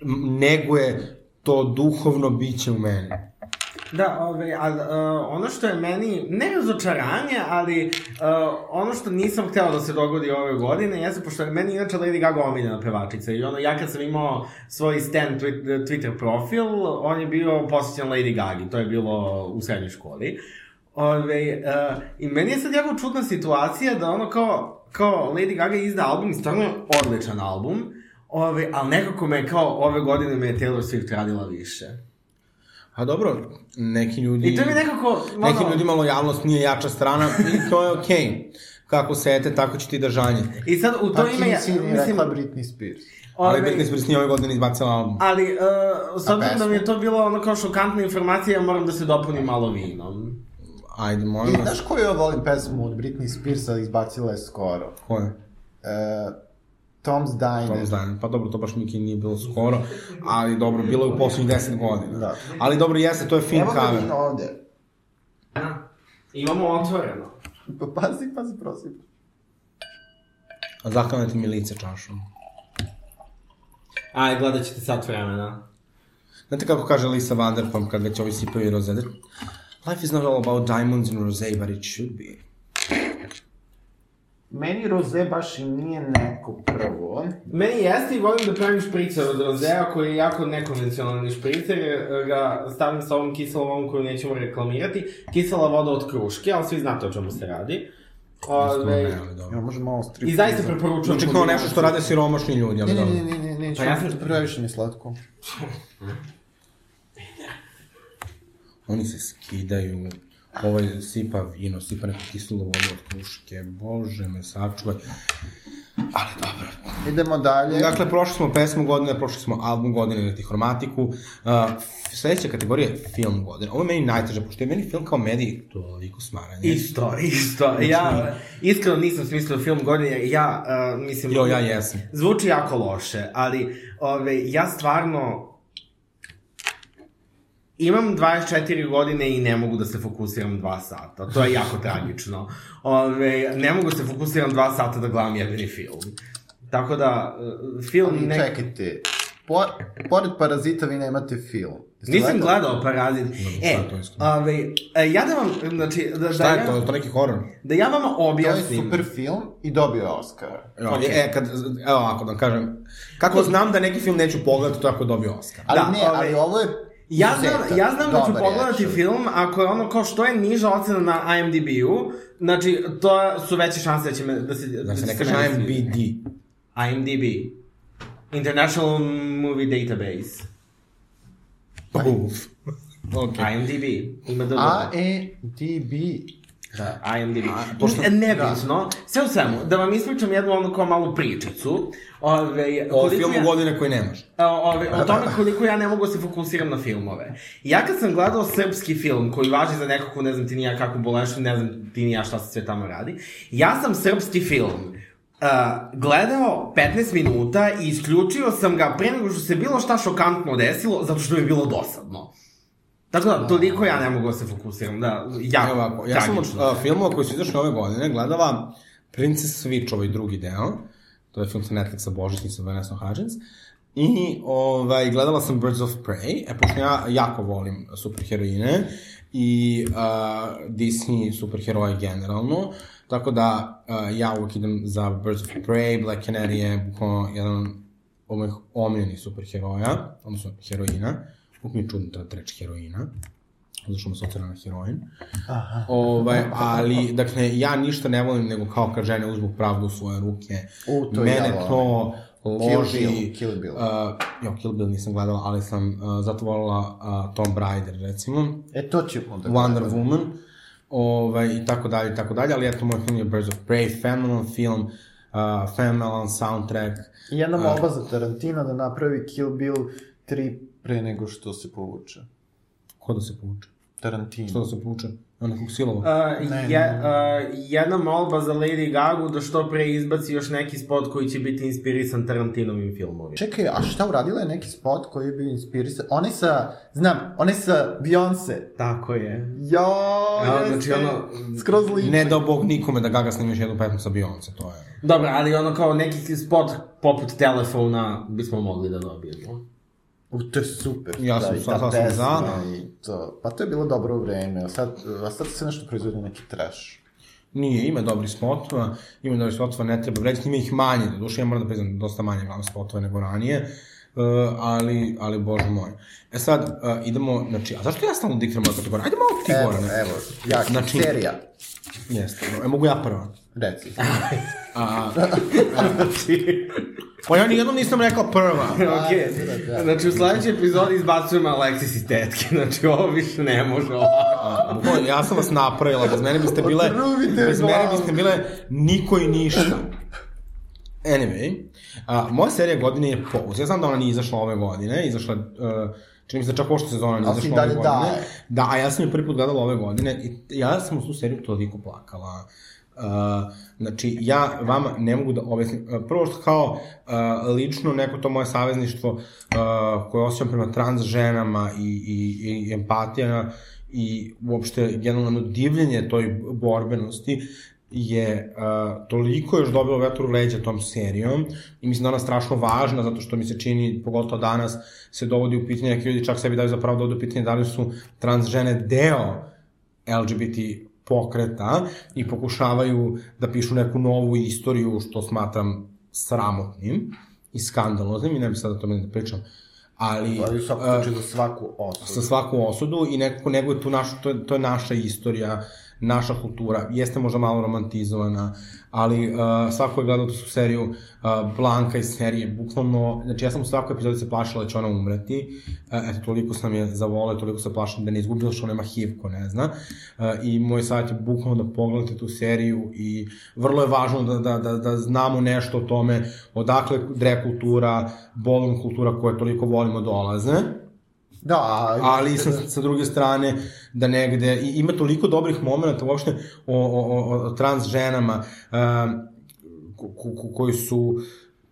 C: m- neguje to duhovno biće u meni.
D: Da, ovaj, a, a, ono što je meni, ne razočaranje, ali a, ono što nisam hteo da se dogodi ove godine, jeste, pošto je meni inače Lady Gaga omiljena pevačica i ono, ja kad sam imao svoj stan twi e, Twitter profil, on je bio posjećan Lady Gagi, to je bilo u srednjoj školi. Ove, uh, I meni je sad jako čudna situacija da ono kao, kao Lady Gaga izda album i stvarno je odličan album, ove, ali nekako me kao ove godine me je Taylor Swift radila više.
C: A dobro, neki ljudi...
D: I to mi nekako...
C: Nekim
D: ono-
C: ljudima lojalnost nije jača strana i to je okej. Okay. Kako sete, tako će ti da žanje.
D: I sad u to
A: pa
D: ime ja,
A: Kim je
D: mislim,
A: rekla Britney Spears.
C: Ali
D: ove-
C: Britney Spears nije ove godine izbacila album.
D: ali uh, s
A: A
D: obzirom da
A: pesmu?
D: mi je to bilo ono kao šokantna informacija, ja moram da se dopunim malo vinom.
C: Ajde,
A: I
C: molim vas,
A: znaš koju ja volim pesmu od Britney Spearsa, izbacila je skoro?
C: ko je?
A: E, Tom's Diner.
C: Tom Zdanen. Pa dobro, to baš Miki nije bilo skoro, ali dobro, bilo je u poslednjih 10 godina.
A: Da.
C: Ali dobro, jeste, to je fin
A: Evo ga
C: cover.
A: vino ovde.
D: Da. Imamo otvoreno.
A: Pa pazi, pazi, prosim.
C: A Zaklanja ti mi lice čašom.
D: Aj, gledat ćete sat vremena.
C: Znate kako kaže Lisa Vanderpump kad već ovi sipaju rozede? Life is not all about diamonds and rosé, but it should be.
A: Meni Rose baš i nije neko prvo.
D: Meni jeste i volim da pravim špricer od rozea koji je jako nekonvencionalni špricer, jer ga stavim sa ovom kiselom ovom koju nećemo reklamirati, kisela voda od kruške, ali svi znate o čemu se radi. Ove,
A: Ja, može malo strip.
D: I zaista preporučujem. da
C: Znači kao nešto što rade siromašni ljudi, ali
A: Ne, ne,
C: dobro.
A: ne, ne, ne, neću.
D: Pa ja sam-
A: previše mi je slatko.
C: Oni se skidaju, ovaj sipa vino, sipa neku kiselu vodu od kruške, bože me sačuvaj. Ali dobro.
A: Idemo dalje.
C: Dakle, prošli smo pesmu godine, prošli smo album godine na Tihromatiku. Uh, sledeća kategorija je film godine. Ovo je meni najteže, pošto je meni film kao medij toliko smaranje.
D: Isto, isto. Ja iskreno nisam smislio film godine, jer ja, uh, mislim...
C: Jo, ja jesam.
D: Zvuči jako loše, ali ove, ja stvarno imam 24 godine i ne mogu da se fokusiram 2 sata. To je jako tragično. Ove, ne mogu da se fokusiram 2 sata da gledam jedini film. Tako da, e, film...
A: Ali Čekajte, po, pored Parazita vi nemate film. Jeste
D: Nisam
A: gledali?
D: gledao Parazit.
C: šta
D: E,
C: je to isto?
D: ove, e, ja da vam, znači, da, da,
C: Šta je
D: ja,
C: to? Je to neki horor?
D: da ja vama
A: To je
D: objasnim.
A: super film i dobio je Oscara.
C: Evo, E, kad, evo ovako da vam kažem. Kako znam da neki film neću pogledati, to je ako je dobio Oscar.
A: Ali
D: Da,
A: ne,
D: ovaj,
A: ali ovo je
D: Ja znam,
A: izuzetak.
D: ja znam da ću
A: Dobar je,
D: pogledati
A: actually.
D: film ako je ono kao što je niža ocena na IMDb-u, znači to su veće šanse da će me, da se...
C: Da se ne
D: će
C: kaže
D: meni sviđa.
C: IMBD.
D: IMDb. International Movie Database.
C: Pa, Uf. Ok.
D: IMDb. Ima da
A: A, E, D, B.
D: IMDb. Pošto... Nebitno. Sve u svemu, da vam ispričam jednu ono kao malu pričicu. Ove,
C: O
D: koliko
C: filmu godine koji nemaš.
D: O, ove, o tome koliko ja ne mogu da se fokusiram na filmove. Ja kad sam gledao srpski film koji važi za nekakvu, ne znam ti ni ja kakvu bolešću, ne znam ti ni ja šta se sve tamo radi, ja sam srpski film Uh, gledao 15 minuta i isključio sam ga pre nego što se bilo šta šokantno desilo, zato što mi je bilo dosadno. Tako da, toliko ja ne mogu da se fokusiram, da, ja,
C: Evo E ovako, ja sam od uh, filmova koji su izašli ove godine gledala Princess Switch, ovaj drugi deo, to je film sa Netflixa Božićnica Vanessa Hudgens, i ovaj, gledala sam Birds of Prey, e, pošto ja jako volim superheroine i uh, Disney superheroje generalno, tako da uh, ja uvijek idem za Birds of Prey, Black Canary je bukvalno jedan od mojih omiljenih superheroja, odnosno heroina, uvijek mi je čudno ta treća heroina, zato što me sotira na heroin. Aha. Ovaj, ali, dakle, ja ništa ne volim nego kao kad žene uzmu pravdu u svoje ruke.
A: U, to
C: Mene
A: ja volim.
C: to loži...
A: Kill Bill, Kill Bill.
C: Uh, jo, Kill Bill nisam gledala, ali sam uh, zato volila uh, Tom Brider, recimo.
A: E, to ćemo da
C: Wonder Woman, ovaj, i tako dalje, i tako dalje, ali eto, moj film je Birds of Prey, fenomenalan film, uh, fenomenalan soundtrack,
A: I jedna molba za Tarantina da napravi Kill Bill 3 pre nego što se povuče.
C: ko da se povuče?
A: Tarantino.
C: Što da se povuče? Ona kog silova?
D: Uh, je, uh, jedna molba za Lady Gaga da što pre izbaci još neki spot koji će biti inspirisan Tarantinovim filmovima.
A: Čekaj, a šta uradila je neki spot koji je bio inspirisan? One sa, znam, one sa Beyoncé.
D: Tako je.
A: Jo,
D: Ja,
A: jeste.
D: znači, ono,
A: skroz liči.
C: Ne dao bog nikome da Gaga snimi još jednu pesmu sa Beyoncé, to je...
D: Dobro, ali ono kao neki spot poput telefona bismo mogli da dobijemo.
A: U, to je super. Da,
C: Ja sam
A: i ta
C: sad sasvim
A: pesma
C: za.
A: i to. Pa to je bilo dobro vreme, a sad, a sad se nešto proizvodi neki trash.
C: Nije, ima dobri spotova, ima dobri spotova, ne treba vreći, ima ih manje, do duše, ja moram da priznam, dosta manje imam spotova nego ranije, uh, ali, ali bože moj. E sad, uh, idemo, znači, a zašto ja stalno diktiram ove kategorije? Ajde malo ti
A: Evo,
C: gore, ne?
A: evo, jaka
C: Znači-
A: serija.
C: Jeste, e, mogu ja prva.
A: Reci.
C: Pa ja nijednom nisam rekao prva.
D: ok, znači u sledećoj epizodi izbacujemo Alexis i tetke, znači ovo više ne može ovako.
C: Bukvalno, ja sam vas napravila, bez mene biste bile,
A: Otruvite
C: bez mene
A: glavu.
C: biste bile niko i ništa. Anyway, a, moja serija godine je Pose. Ja znam da ona nije izašla ove godine, izašla, uh, čini mi se da čak pošto sezona nije
A: Ali si
C: izašla ove
A: dalje
C: godine.
A: daje.
C: Da, a ja sam je prvi put gledala ove godine i ja sam u tu seriju toliko plakala. Uh, znači, ja vama ne mogu da objasnim. Uh, prvo što kao, uh, lično neko to moje savezništvo uh, koje osjećam prema trans ženama i, i, i empatija i uopšte generalno divljenje toj borbenosti je uh, toliko još dobilo vetru u leđa tom serijom i mislim da je ona strašno važna zato što mi se čini, pogotovo danas, se dovodi u pitanje, neki ljudi čak sebi daju zapravo dovodi u pitanje da li su trans žene deo LGBT pokreta i pokušavaju da pišu neku novu istoriju što smatram sramotnim i skandaloznim i ne bi sad o tome da pričam. Ali,
A: Ali u svakom
C: uh,
A: slučaju za svaku osu.
C: sa svaku osudu i nekako nego je tu naš, to, je- to je naša istorija, naša kultura. Jeste možda malo romantizovana, ali uh, svako je gledao tu seriju uh, Blanka iz serije, bukvalno, znači ja sam u svakoj epizodi se plašila da će ona umreti, uh, eto, toliko sam je zavolao, toliko se plašim da ne izgubila što nema HIV, ko ne zna, uh, i moj savjet je bukvalno da pogledate tu seriju i vrlo je važno da, da, da, da znamo nešto o tome, odakle drag kultura, bolom kultura koje toliko volimo dolaze,
A: Da, a-
C: ali sa, sa druge strane da negde i, ima toliko dobrih momenta uopšte o, o, o, o trans ženama um, ko, ko, ko- koji su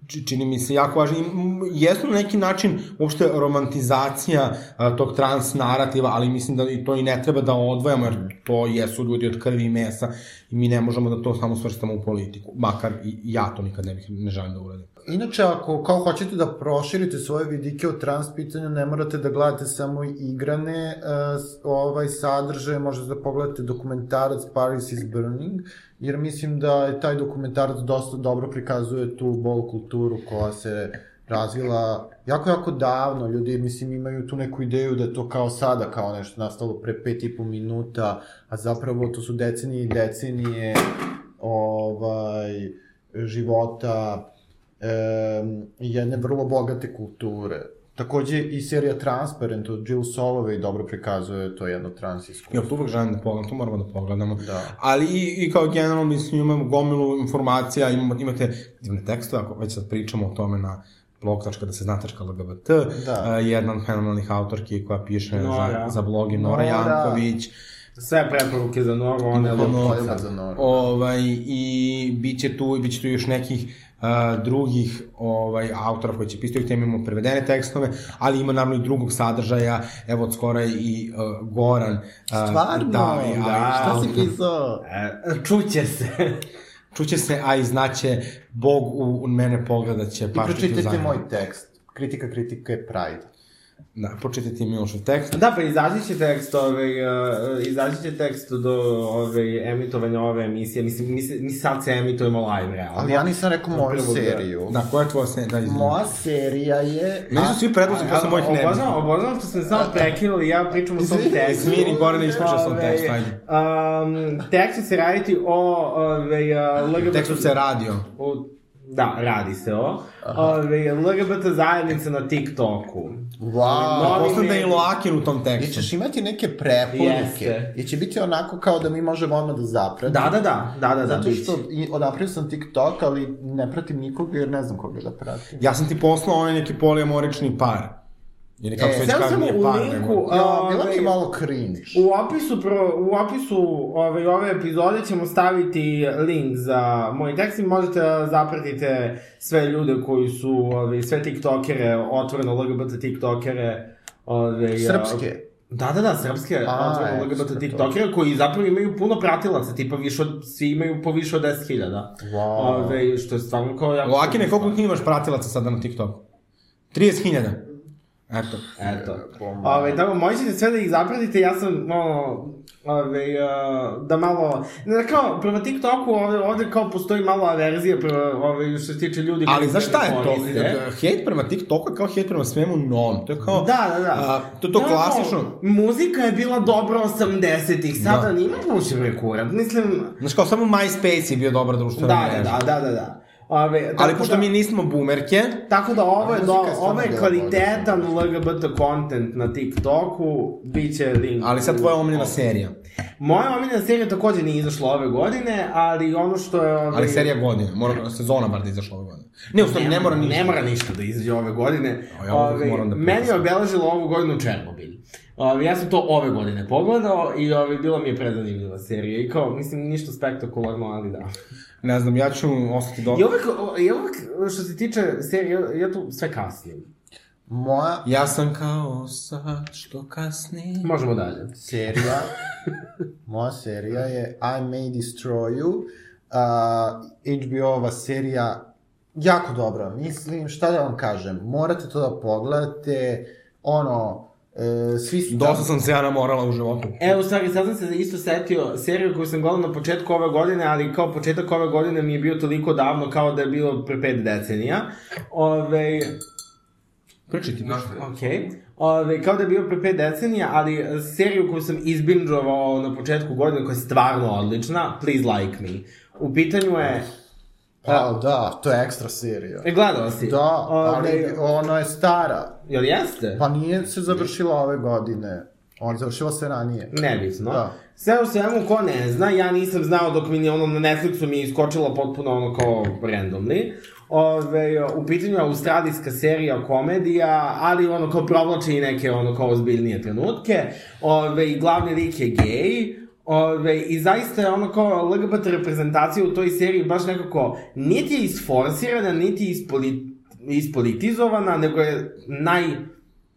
C: či- čini mi se jako važni. M, Jesu na neki način uopšte romantizacija a, tog trans narativa, ali mislim da i to i ne treba da odvajamo, jer to jesu ljudi od krvi i mesa i mi ne možemo da to samo svrstamo u politiku. Makar i i ja to nikad ne, bih, ne želim da uradim.
A: Inače, ako kao hoćete da proširite svoje vidike o trans pitanju, ne morate da gledate samo igrane e, s- ovaj sadržaj, možete da pogledate dokumentarac Paris is Burning, jer mislim da je taj dokumentarac dosta dobro prikazuje tu bol kulturu koja se razvila jako, jako davno. Ljudi, mislim, imaju tu neku ideju da je to kao sada, kao nešto nastalo pre pet i po minuta, a zapravo to su decenije i decenije ovaj, života e, jedne vrlo bogate kulture. Takođe i serija Transparent od Jill Solove dobro prikazuje to jedno trans
C: Ja
A: iskustvo.
C: to uvek želim da pogledam, to moramo da pogledamo.
A: Da.
C: Ali i, i kao generalno, mislim, imamo gomilu informacija, imamo, imate divne tekstove, ako već sad pričamo o tome na blog.daseznatačka.lgbt,
A: Da.
C: da. jedna od fenomenalnih autorki koja piše za,
D: Nora.
C: za blog je Nora,
A: Nora.
C: Janković,
D: Sve preporuke za Noru, one je
C: Bukvalno.
D: lupo.
A: Poljeba za Noru.
C: ovaj, i bit će tu, bit će tu još nekih Uh, drugih ovaj, autora koji će pisati ovih tema, imamo prevedene tekstove, ali ima naravno i drugog sadržaja, evo od skora je i uh, Goran. Uh,
A: Stvarno?
C: Da, i,
A: A,
C: da,
A: šta si pisao?
D: E, Čuće se.
C: Čuće se, a i znaće, Bog u, u mene pogleda će
A: I
C: pašiti
A: pročitajte moj tekst. Kritika kritika je pride.
C: Da, pročitajte Milošev tekst.
D: Da, pa izaći će tekst, ovaj, uh, izaći će tekst do ovaj, emitovanja ove emisije. Mislim, mi, se, mi sad se emitujemo live, realno.
A: Ali ja nisam rekao moju
D: Prvo da-
A: seriju.
C: Da, koja je tvoja se... Da, izvini.
A: Moja serija je...
C: Meni su svi predlozi posle mojih ne.
D: Obožavam, obožavam što sam samo prekinuo i ja pričam o svom tekstu.
C: Izvini, Gorane, ispričao sam
D: Ovaj,
C: tekst, ajde.
D: Um, tekst će se raditi o ovaj, uh, LGBT...
C: Tekstu se radio.
D: O, da, radi se o. ovaj, Ove, LGBT zajednice na TikToku.
A: Wow.
D: Novi
C: Posledam da je i
D: medij.
C: Loakin u tom
A: I
C: tekstu.
A: ćeš imati neke preporuke.
D: Jeste.
A: I će biti onako kao da mi možemo odmah da zapratimo.
D: Da, da, da, da, da, da,
A: Zato
D: bit će.
A: što i- napravio sam TikTok, ali ne pratim nikoga jer ne znam koga da pratim.
C: Ja sam ti poslao onaj neki polijamorični par. Ili kako
A: E,
C: se već
D: sad
C: kaže,
D: samo
C: nije
D: u
C: par,
D: linku,
C: nego...
D: a-
A: Ja, bilo mi
D: Ovaj-
A: je malo cringe.
D: U opisu, pro, u opisu ove, ove epizode ćemo staviti link za moj tekst i možete da zapratite sve ljude koji su, ove, sve tiktokere, otvoreno LGBT tiktokere. ovaj, eh, Ove, a-
A: Srpske.
D: Da, da, da, srpske
A: A,
D: otvoreno
A: e,
D: LGBT
A: super,
D: tiktokere koji zapravo imaju puno pratilaca, tipa više od, svi imaju po više od 10.000.
A: Wow.
D: Ove, što je stvarno kao jako...
C: Loakine, koliko ti imaš pratilaca sada na TikToku? 30.000. Eto.
D: Eto. Ove, tako, možete sve da ih zapratite, ja sam, ono, ove, uh, da malo, ne, kao, prema TikToku ovde, ovde kao postoji malo averzija prema, ove, što se tiče ljudi
C: Ali
D: koji
C: znaš šta je to?
D: koriste.
C: Hejt prema TikToku je kao hejt prema svemu novom. To je kao...
D: Da, da, da.
C: A, to je to
D: Da,
C: klasično.
D: kao, muzika je bila dobra 80-ih, sada
C: Da.
D: da. nima puši bre kurac. Mislim,
C: Znaš kao samo MySpace je bio dobra
D: da,
C: društvena
D: da,
C: mreža.
D: da, da, da, da. Ove,
C: Ali
D: tako
C: pošto
D: da-
C: mi nismo bumerke,
D: Tako da ovo je,
A: Ali
D: do,
A: muzika je stvarno
D: ovo je
A: bila
D: kvalitetan LGBT content na TikToku, bit će link.
C: ali sad tvoja omiljena
D: Da.
C: serija.
D: Moja omiljena serija takođe nije izašla ove godine, ali ono što je... Ove...
C: Ali serija godine, mora sezona bar da izašla ove godine. Ne, u stvari ne mora ništa.
D: Ne mora ništa da izađe ove godine.
C: A ja uvek
D: Ove,
C: moram da
D: meni je
C: priznam.
D: obeležilo ovu godinu Černobil. Ove, ja sam to ove godine pogledao i ove, bila mi je prezanimljiva serija. I kao, mislim, ništa spektakularno, ali da.
C: Ne znam, ja ću ostati do...
D: I uvek, i uvek što se tiče serije, ja tu sve kasnim.
A: Moja
C: Ja sam kao...
E: Sad što kasni.
D: Možemo dalje.
A: serija, moja serija je I May Destroy You, uh, HBO-ova serija, jako dobra, mislim, šta da vam kažem, morate to da pogledate, ono, e, svi su
C: Dosta sam se ja namorala u životu.
D: E, u stvari, sad sam se isto setio seriju koju sam gledao na početku ove godine, ali kao početak ove godine mi je bio toliko davno kao da je bilo pre pet decenija. Ove, Pričaj ti.
F: Nastavite.
D: Ok. Ove, kao da je bio pre pet decenija, ali e, seriju koju sam izbinđovao na početku godine, koja je stvarno odlična, Please Like Me. U pitanju je...
A: Pa, da, to je ekstra serija.
D: E, gledala si?
A: Da, ali
D: Ove,
A: ona je stara.
D: Jel jeste?
A: Pa nije se završila ove godine. Ona je završila se ranije.
D: Nebitno.
A: Da.
D: Sve u svemu, ko ne zna, ja nisam znao dok mi je ono na Netflixu mi je iskočila potpuno ono kao randomly. Ove, u pitanju je australijska serija komedija, ali ono kao provlači i neke ono kao ozbiljnije trenutke. Ove, i glavni lik je gej. Ove, I zaista je ono kao LGBT reprezentacija u toj seriji baš nekako niti je isforsirana, niti je ispoli, ispolitizovana, nego je naj,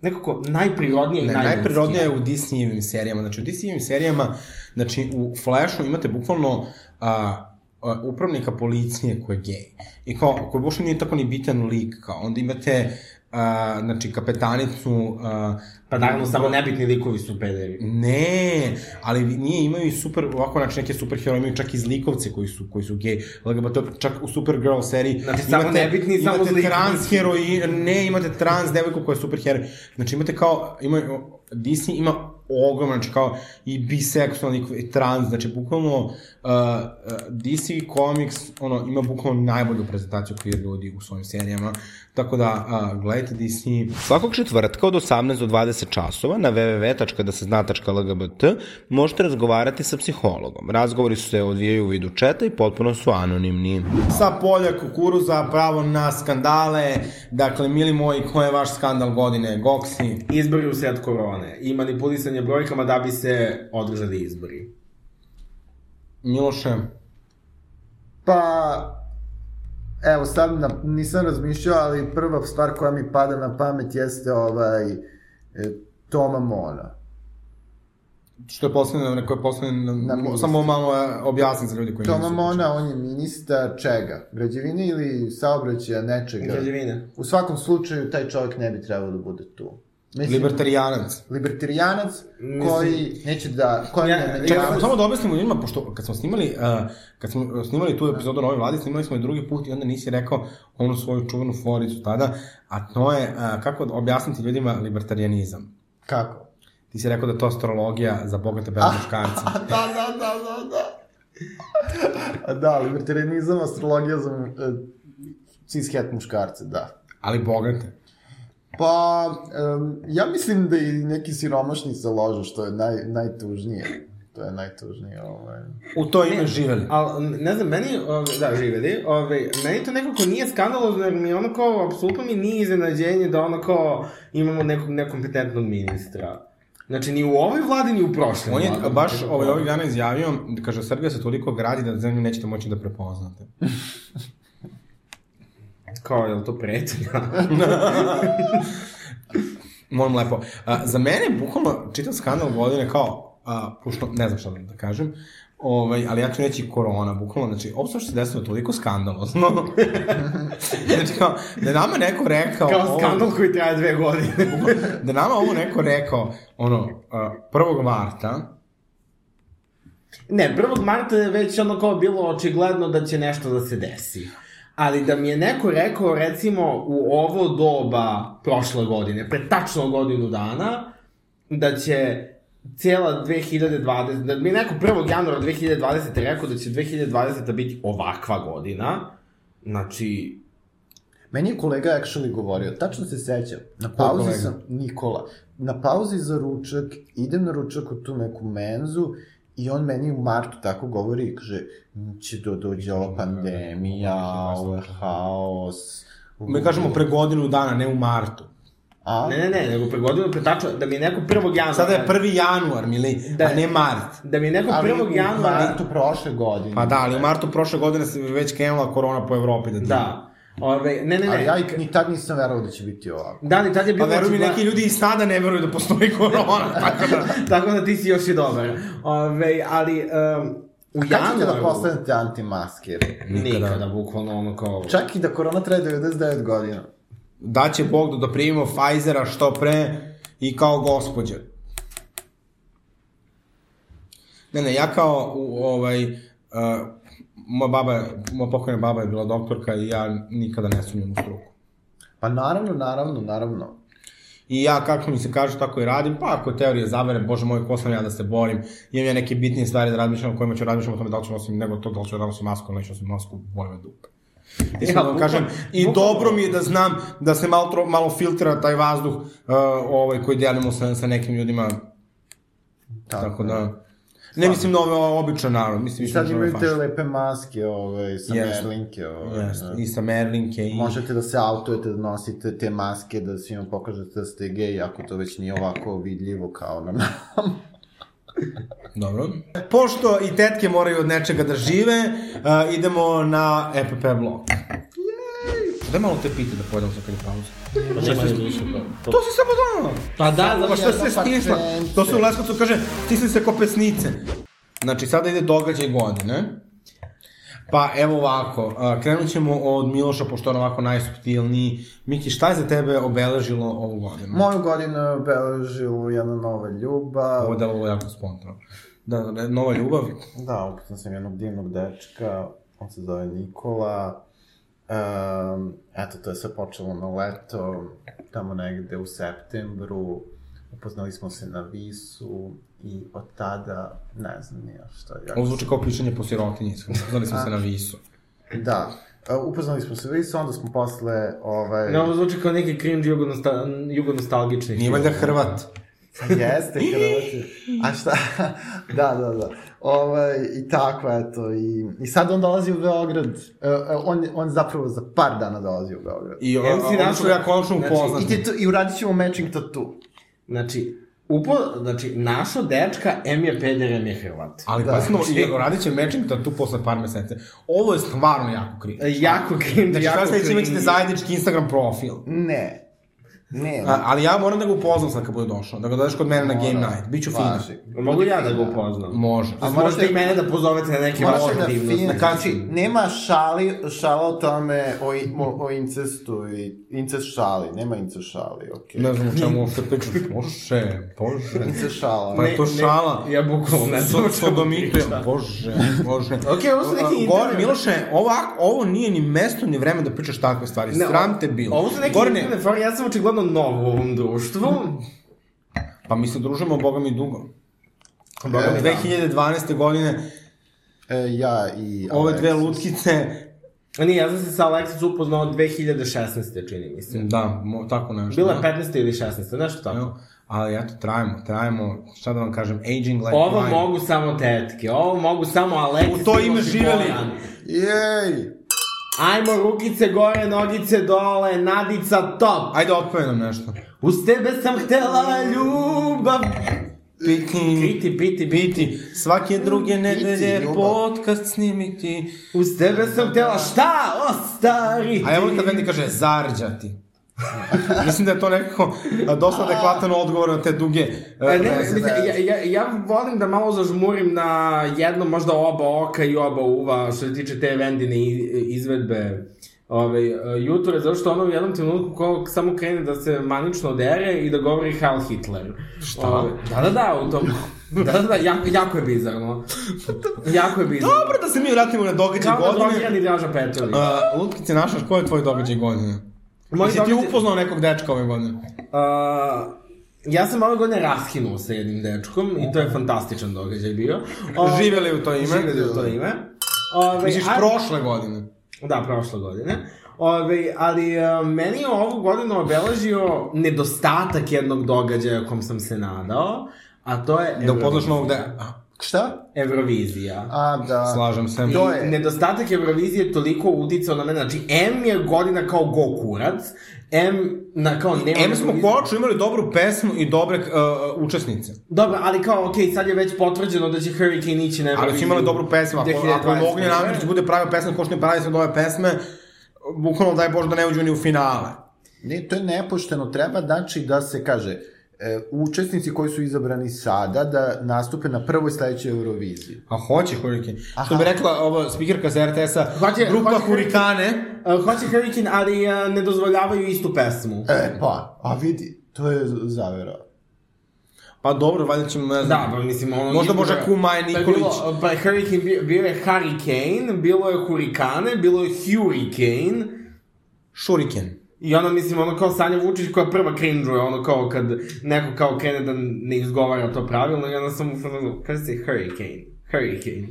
D: nekako najprirodnija i
C: Ne,
D: najljudskija.
C: najprirodnija je u Disneyevim serijama. Znači, u Disneyevim serijama, znači, u Flashu imate bukvalno a, a, upravnika policije koji je gej. I kao, koji uopšte nije tako ni bitan lik, kao. Onda imate, a, znači, kapetanicu, a,
D: Pa naravno, samo nebitni likovi su pederi.
C: Ne, ali nije imaju i super, ovako znači neke super heroje, imaju čak i zlikovce koji su, koji su gej, LGBT, čak u Supergirl seriji.
D: Znači, samo nebitni, samo
C: imate
D: zlikovci.
C: trans heroji, ne, imate trans devojku koja je super heroj. Znači imate kao, ima, Disney ima ogroman, znači kao i biseksualni i trans, znači bukvalno uh, uh, DC Comics ono, ima bukvalno najbolju prezentaciju queer ljudi u svojim serijama, tako da uh, gledajte Disney. Svakog četvrtka od 18 do 20 časova na www.dasezna.lgbt možete razgovarati sa psihologom. Razgovori su se odvijaju u vidu četa i potpuno su anonimni. Sa polja kukuruza pravo na skandale, dakle, mili moji, ko je vaš skandal godine? Goksi?
D: Izbori u sred korone i manipulisanje brojkama da bi se održali izbori.
C: Miloše,
A: Pa, evo sad na, nisam razmišljao, ali prva stvar koja mi pada na pamet jeste ovaj e, Toma Mona.
C: što je poslednje, neko je poslednje,
A: Na minusu.
C: samo malo e, objasnim za ljudi koji
A: Toma Mona, on je ministar čega? Građevine ili saobraćaja
C: Da.
A: nečega?
D: Građevine.
A: U svakom slučaju, taj čovjek ne bi trebao da bude tu. Mislim,
C: Libertarijanac.
A: libertarijanac koji neće da... Koji
D: Ja-
A: ne,
C: Čekaj, samo- samo da objasnimo ljudima, pošto kad smo snimali, uh, kad smo snimali tu epizodu Nove vlade, snimali smo je drugi put i onda nisi rekao onu svoju čuvenu foricu tada, a to je uh, kako objasniti ljudima libertarijanizam.
A: Kako?
C: Ti si rekao da je to astrologija za bogate bele muškarce.
A: da, da, da, da, da. A da, libertarianizam, astrologija za mu- e, cishet muškarce, da.
C: Ali bogate.
A: Pa, em, ja mislim da i neki siromašni se ložu, što je naj, najtužnije. To je najtužnije, ovaj.
C: U to ime živeli.
D: Ali, ne znam, meni, ove, da, živeli, ove, meni to nekako nije skandalozno, jer mi ono kao, apsolutno mi nije iznenađenje da ono kao imamo nekog nekompetentnog ministra. Znači, ni u ovoj vladi, ni u prošloj
C: On je
D: vladi.
C: baš ovaj, ovih dana izjavio, da kaže, Srbija se toliko gradi da zemlju nećete moći da prepoznate.
D: Kao, je li to pretnja?
C: Molim lepo. A, za mene je bukvalno čitav skandal godine kao, a, pošto ne znam šta da da kažem, ovaj, ali ja ću reći korona, bukvalno, znači, ovo sve što se desilo je toliko skandalozno. znači, kao, da je nama neko rekao...
D: Kao
C: ovo-
D: skandal koji traje dve godine.
C: da je nama ovo neko rekao, ono, a, 1. marta,
D: Ne, 1. marta je već ono kao bilo očigledno da će nešto da se desi. Ali da mi je neko rekao, recimo, u ovo doba prošle godine, pre tačno godinu dana, da će cijela 2020, da mi je neko 1. januara 2020. rekao da će 2020. biti ovakva godina, znači,
A: Meni je kolega actually govorio, tačno se sećam, na
C: Ko
A: pauzi
C: kolega?
A: sam, Nikola, na pauzi za ručak, idem na ručak u tu neku menzu i on meni u martu tako govori i kaže, "M, će do, dođe ova pandemija, ovo je haos.
C: mi kažemo pre godinu dana, ne u martu.
A: A?
D: ne, ne, ne, nego pre godinu, pre tačno, da mi je neko 1. januara...
C: Sada je 1. januar, mili,
D: Da.
C: a ne mart.
D: Da mi je neko 1. januara...
A: U martu prošle godine.
C: Pa da, ali u martu prošle godine se već krenula korona po Evropi. Da,
D: Da. Ove, ne, ne, ne.
A: Ali ja i- ni tad nisam verovao da će biti ovako.
D: Da, ali tad je
C: Pa
D: bilo...
C: veruj mi,
D: očigledno-
C: neki ljudi i sada ne veruju da postoji korona, tako da...
D: Tako da ti si još i dobar. Ove, ali... Um, u
A: Kad ćete da postanete antimaskeri?
D: Nikada. bukvalno ono kao...
A: Čak i da korona traje 99 godina.
C: da će Bog da primimo Pfizera što pre i kao gospođa. Ne, ne, ja kao u, ovaj, uh, moja baba, je- moja pokojna
D: da
C: baba je bila doktorka i ja nikada ne sumnjam u struku.
A: Pa naravno, naravno, naravno.
C: I ja, kako mi se kaže, tako i radim. Pa ako je teorija zavere, bože moj, ko sam ja da se borim. Imam ja neke bitnije stvari da razmišljam o kojima ću razmišljam o tome da li ću nosim nego to, da li ću da nosim masku, ili neću nosim masku, bojme dupe. Iskreno da vam kažem, i dobro mi je da znam da se malo, tro- malo filtrira taj vazduh uh, ovaj, koji delimo sa, sa nekim ljudima. Tako, da... Ne mislim na ove običan narod, mislim više
A: Sad
C: na ove
A: imaju te
C: fašiste.
A: lepe maske, ove, sa
C: Jeste.
A: merlinke, ove. da.
C: Jeste, I sa Merlinke i...
A: Možete da se autujete, da nosite te maske, da svima pokažete da ste gej, ako to već nije ovako vidljivo kao na nama.
C: Mm. Dobro. Pošto i tetke moraju od nečega da žive, uh, idemo na E EPP blok. Daj malo te pite da pojedem sa kada pauzu.
G: Pa nema ni više to.
C: To si samo donala.
G: Pa da, zato
C: Pa šta se stisla? To se u Leskovcu kaže, stisli se ko pesnice. Znači, sada ide događaj godine. Pa evo ovako, uh, krenut ćemo od Miloša, pošto je on ovako najsubtilniji. Miki, šta je za tebe obeležilo ovu godinu?
A: Moju godinu je obeležilo jedna nova ljubav.
C: Ovo je delovalo jako spontano. Da, ne, nova ljubav.
A: Da, upoznao sam jednog divnog dečka, on se zove Nikola. Um, eto, to je sve počelo na leto, tamo negde u septembru. Upoznali smo se na Visu i od tada, ne znam nije što. Ja
C: Ovo zvuči kao pišanje po sirotinji, iskreno. Znali smo se na visu.
A: Da, Uh, upoznali smo se na Visu, onda smo posle, ovaj...
D: Ne, ovo zvuči kao neki cringe jugonosta, jugonostalgični.
C: Nije valjda Hrvat.
A: Jeste, Hrvati. A šta? da, da, da. Ovaj, I tako, eto. I, I sad on dolazi u Beograd. E, e, on, on zapravo za par dana dolazi u Beograd. I,
C: I o,
D: MC
C: MC
D: Rašo-
C: Rašo ja konačno
D: znači,
C: upoznat.
A: I, ti, tu- i uradit ćemo matching tattoo.
D: Znači, upo, znači, našo dečka, M je peder, M je Hrvat.
C: Ali
A: Da.
C: da. pasno,
D: Znači,
C: i radit će matching tu posle par meseci. Ovo je stvarno jako krivo.
D: E, Jako cringe,
C: Znači,
D: jako
C: šta sledeći
D: cringe.
C: imat ćete zajednički Instagram profil.
A: Ne. Ne.
C: A, ali ja moram da ga upoznam sad kad bude došao. Da ga dođeš kod mene na game night. Biću fina.
A: Važi.
D: Mogu ja da ga upoznam?
C: Može.
D: A
A: možete-
D: možete i mene da pozovete na neke
A: Moraš
D: vaše
A: da fin...
D: aktivnosti.
A: Znači, nema šali, šala o tome, o, i- o, o incestu i incest šali. Nema incest šali, okej.
C: Ne znam o čemu uopšte pričaš. Bože, bože.
A: Incest šala.
C: Pa je to
D: Ne, ne,
C: šala.
D: ja bukvalno ne znam o čemu
C: Sodomitrija.
D: pričam.
C: Bože, bože.
D: Okej, ovo su neki
C: Gore,
D: internet-
C: Miloše, ovo, ovo nije ni mesto ni vreme da pričaš takve stvari.
D: Ne,
C: Sram te bilo.
D: Ovo su neke
C: Gorane,
D: interne fore, ja sam očigledno nov u ovom društvu.
C: Pa mi se družimo, boga mi dugo.
A: Boga
D: E,
A: mi, da.
C: 2012. godine,
A: E, ja i...
C: ove dve
A: Aleksa.
C: lutkice,
D: A nije, ja sam se sa Alexis upoznao 2016. čini mi se.
C: da, mo, tako nešto.
D: Bila je
C: da.
D: 15. ili 16. nešto tako.
C: Evo, Ali eto, trajimo, trajimo, šta da vam kažem, aging like
D: Ovo
C: wine.
D: mogu samo tetke, ovo mogu samo Alexis.
C: U to ime
D: Miloš i
C: živeli.
D: Goran.
A: Jej!
D: Ajmo, rukice gore, nogice dole, Nadica top.
C: Ajde, otpove nam nešto.
D: Uz tebe sam htela ljubav.
C: Piti,
D: Piti, piti, piti.
C: piti, svake druge nedelje
A: ljubav.
C: podcast snimiti.
D: Uz tebe sam htela šta ostari.
C: A evo kad meni kaže, zarđati. Mislim da je to nekako a, dosta adekvatan odgovor na te duge e,
D: E, ne,
C: veze.
D: mislim, ja, ja, ja volim da malo zažmurim na jedno, možda oba oka i oba uva, što se tiče te vendine i- izvedbe ove, juture, zato što ono u jednom trenutku ko samo krene da se manično dere i da govori Heil Hitler. Šta? Ove, da, da, da, u tom... Da, da, da, jako, jako je bizarno. jako je bizarno.
C: Dobro da se mi vratimo na događaj
D: Kao da
C: godine.
D: dogira i Draža Petrović.
C: Uh, Lutkice, naša, ko je tvoj događaj godine?
D: Moj
C: Moj Jesi
D: događaj-
C: ti upoznao nekog dečka ove godine?
D: Uh, ja sam ove godine raskinuo sa jednim dečkom i to je fantastičan događaj bio. Ove,
C: Živeli u da to ime?
D: Živeli u to ime. Ove,
C: Misliš,
D: Ovaj, a-
C: prošle godine?
D: Da, prošle godine. Ove, ali uh, meni je ovu godinu obeležio nedostatak jednog događaja kom sam se nadao, a to je
C: Da
D: Evrovizija.
C: upoznaš novog dečka?
A: Šta?
D: Evrovizija.
A: A, da.
C: Slažem se.
A: To je-
D: Nedostatak Evrovizije je toliko uticao na mene, znači M je godina kao go kurac, M na kao nema...
C: Em smo
D: Eurovizije.
C: konačno imali dobru pesmu i dobre uh, učesnice.
D: Dobro, ali kao, okej, sad je već potvrđeno da će Hurricane ići na
C: Ali su imali dobru pesmu. Ako, ako
D: 2020.
C: je Ognjen Andrić da bude pravio pesme, ko što ne pravi sad ove pesme, bukvalno daj Bože da ne uđu ni u finale.
A: Ne, to je nepošteno. Treba znači da se kaže e, učesnici koji su izabrani sada da nastupe na prvoj sledećoj Euroviziji.
C: A hoće Hurricane. Što bi rekla ova speakerka sa RTS-a,
D: Hoće-
C: grupa
D: hoće
C: Hurikane.
D: Uh, hoće Hurricane, ali uh, ne dozvoljavaju istu pesmu.
A: E, pa, a vidi, to je zavera.
C: Pa dobro, valjda ćemo, ne znam.
D: Da, pa mislim, ono...
C: Možda
D: niko-
C: može Kumaj
D: Pa je
C: Nikolić.
D: bilo- Pa je Hurricane, bio, bio je Hurricane, bilo je Hurricane, bilo je Hurricane.
C: Shuriken.
D: I ono, mislim, ono kao Sanja Vučić koja prva cringe-uje, ono kao kad neko kao krene da ne izgovara to pravilno i onda sam u fazonu, kaže se hurricane, hurricane.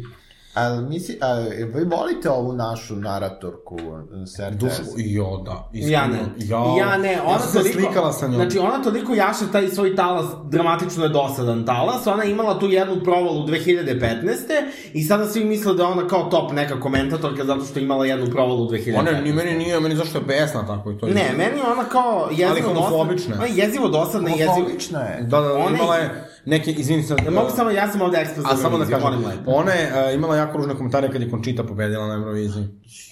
A: Ali misli, a, jel vi volite ovu našu naratorku s RTS?
C: Dušu, jo, da.
D: Ja ne.
C: Ja,
D: ja ne, ona
C: ja sam se
D: toliko,
C: slikala sa njom.
D: Znači, ona toliko jaše taj svoj talas, dramatično je dosadan talas, ona je imala tu jednu provalu 2015. I sada svi misle da je ona kao top neka komentatorka zato što je imala jednu provalu 2015.
C: Ona ni meni nije, meni zašto je besna tako i to. je-
D: Ne, meni je ona kao jezivo
C: Ali homofobična je.
D: dosadna. je jezivo dosadna i jezivo...
A: Homofobična je.
C: Da, da, da,
D: Ona
C: imala
D: je-
C: je neke, izvini se.
D: Ne mogu samo, ja sam ovde ekspert za
C: A samo da
D: Euroviziju,
C: kažem,
D: molim lepo.
C: ona je a, imala jako ružne komentare kad je Končita pobedila na Euroviziji.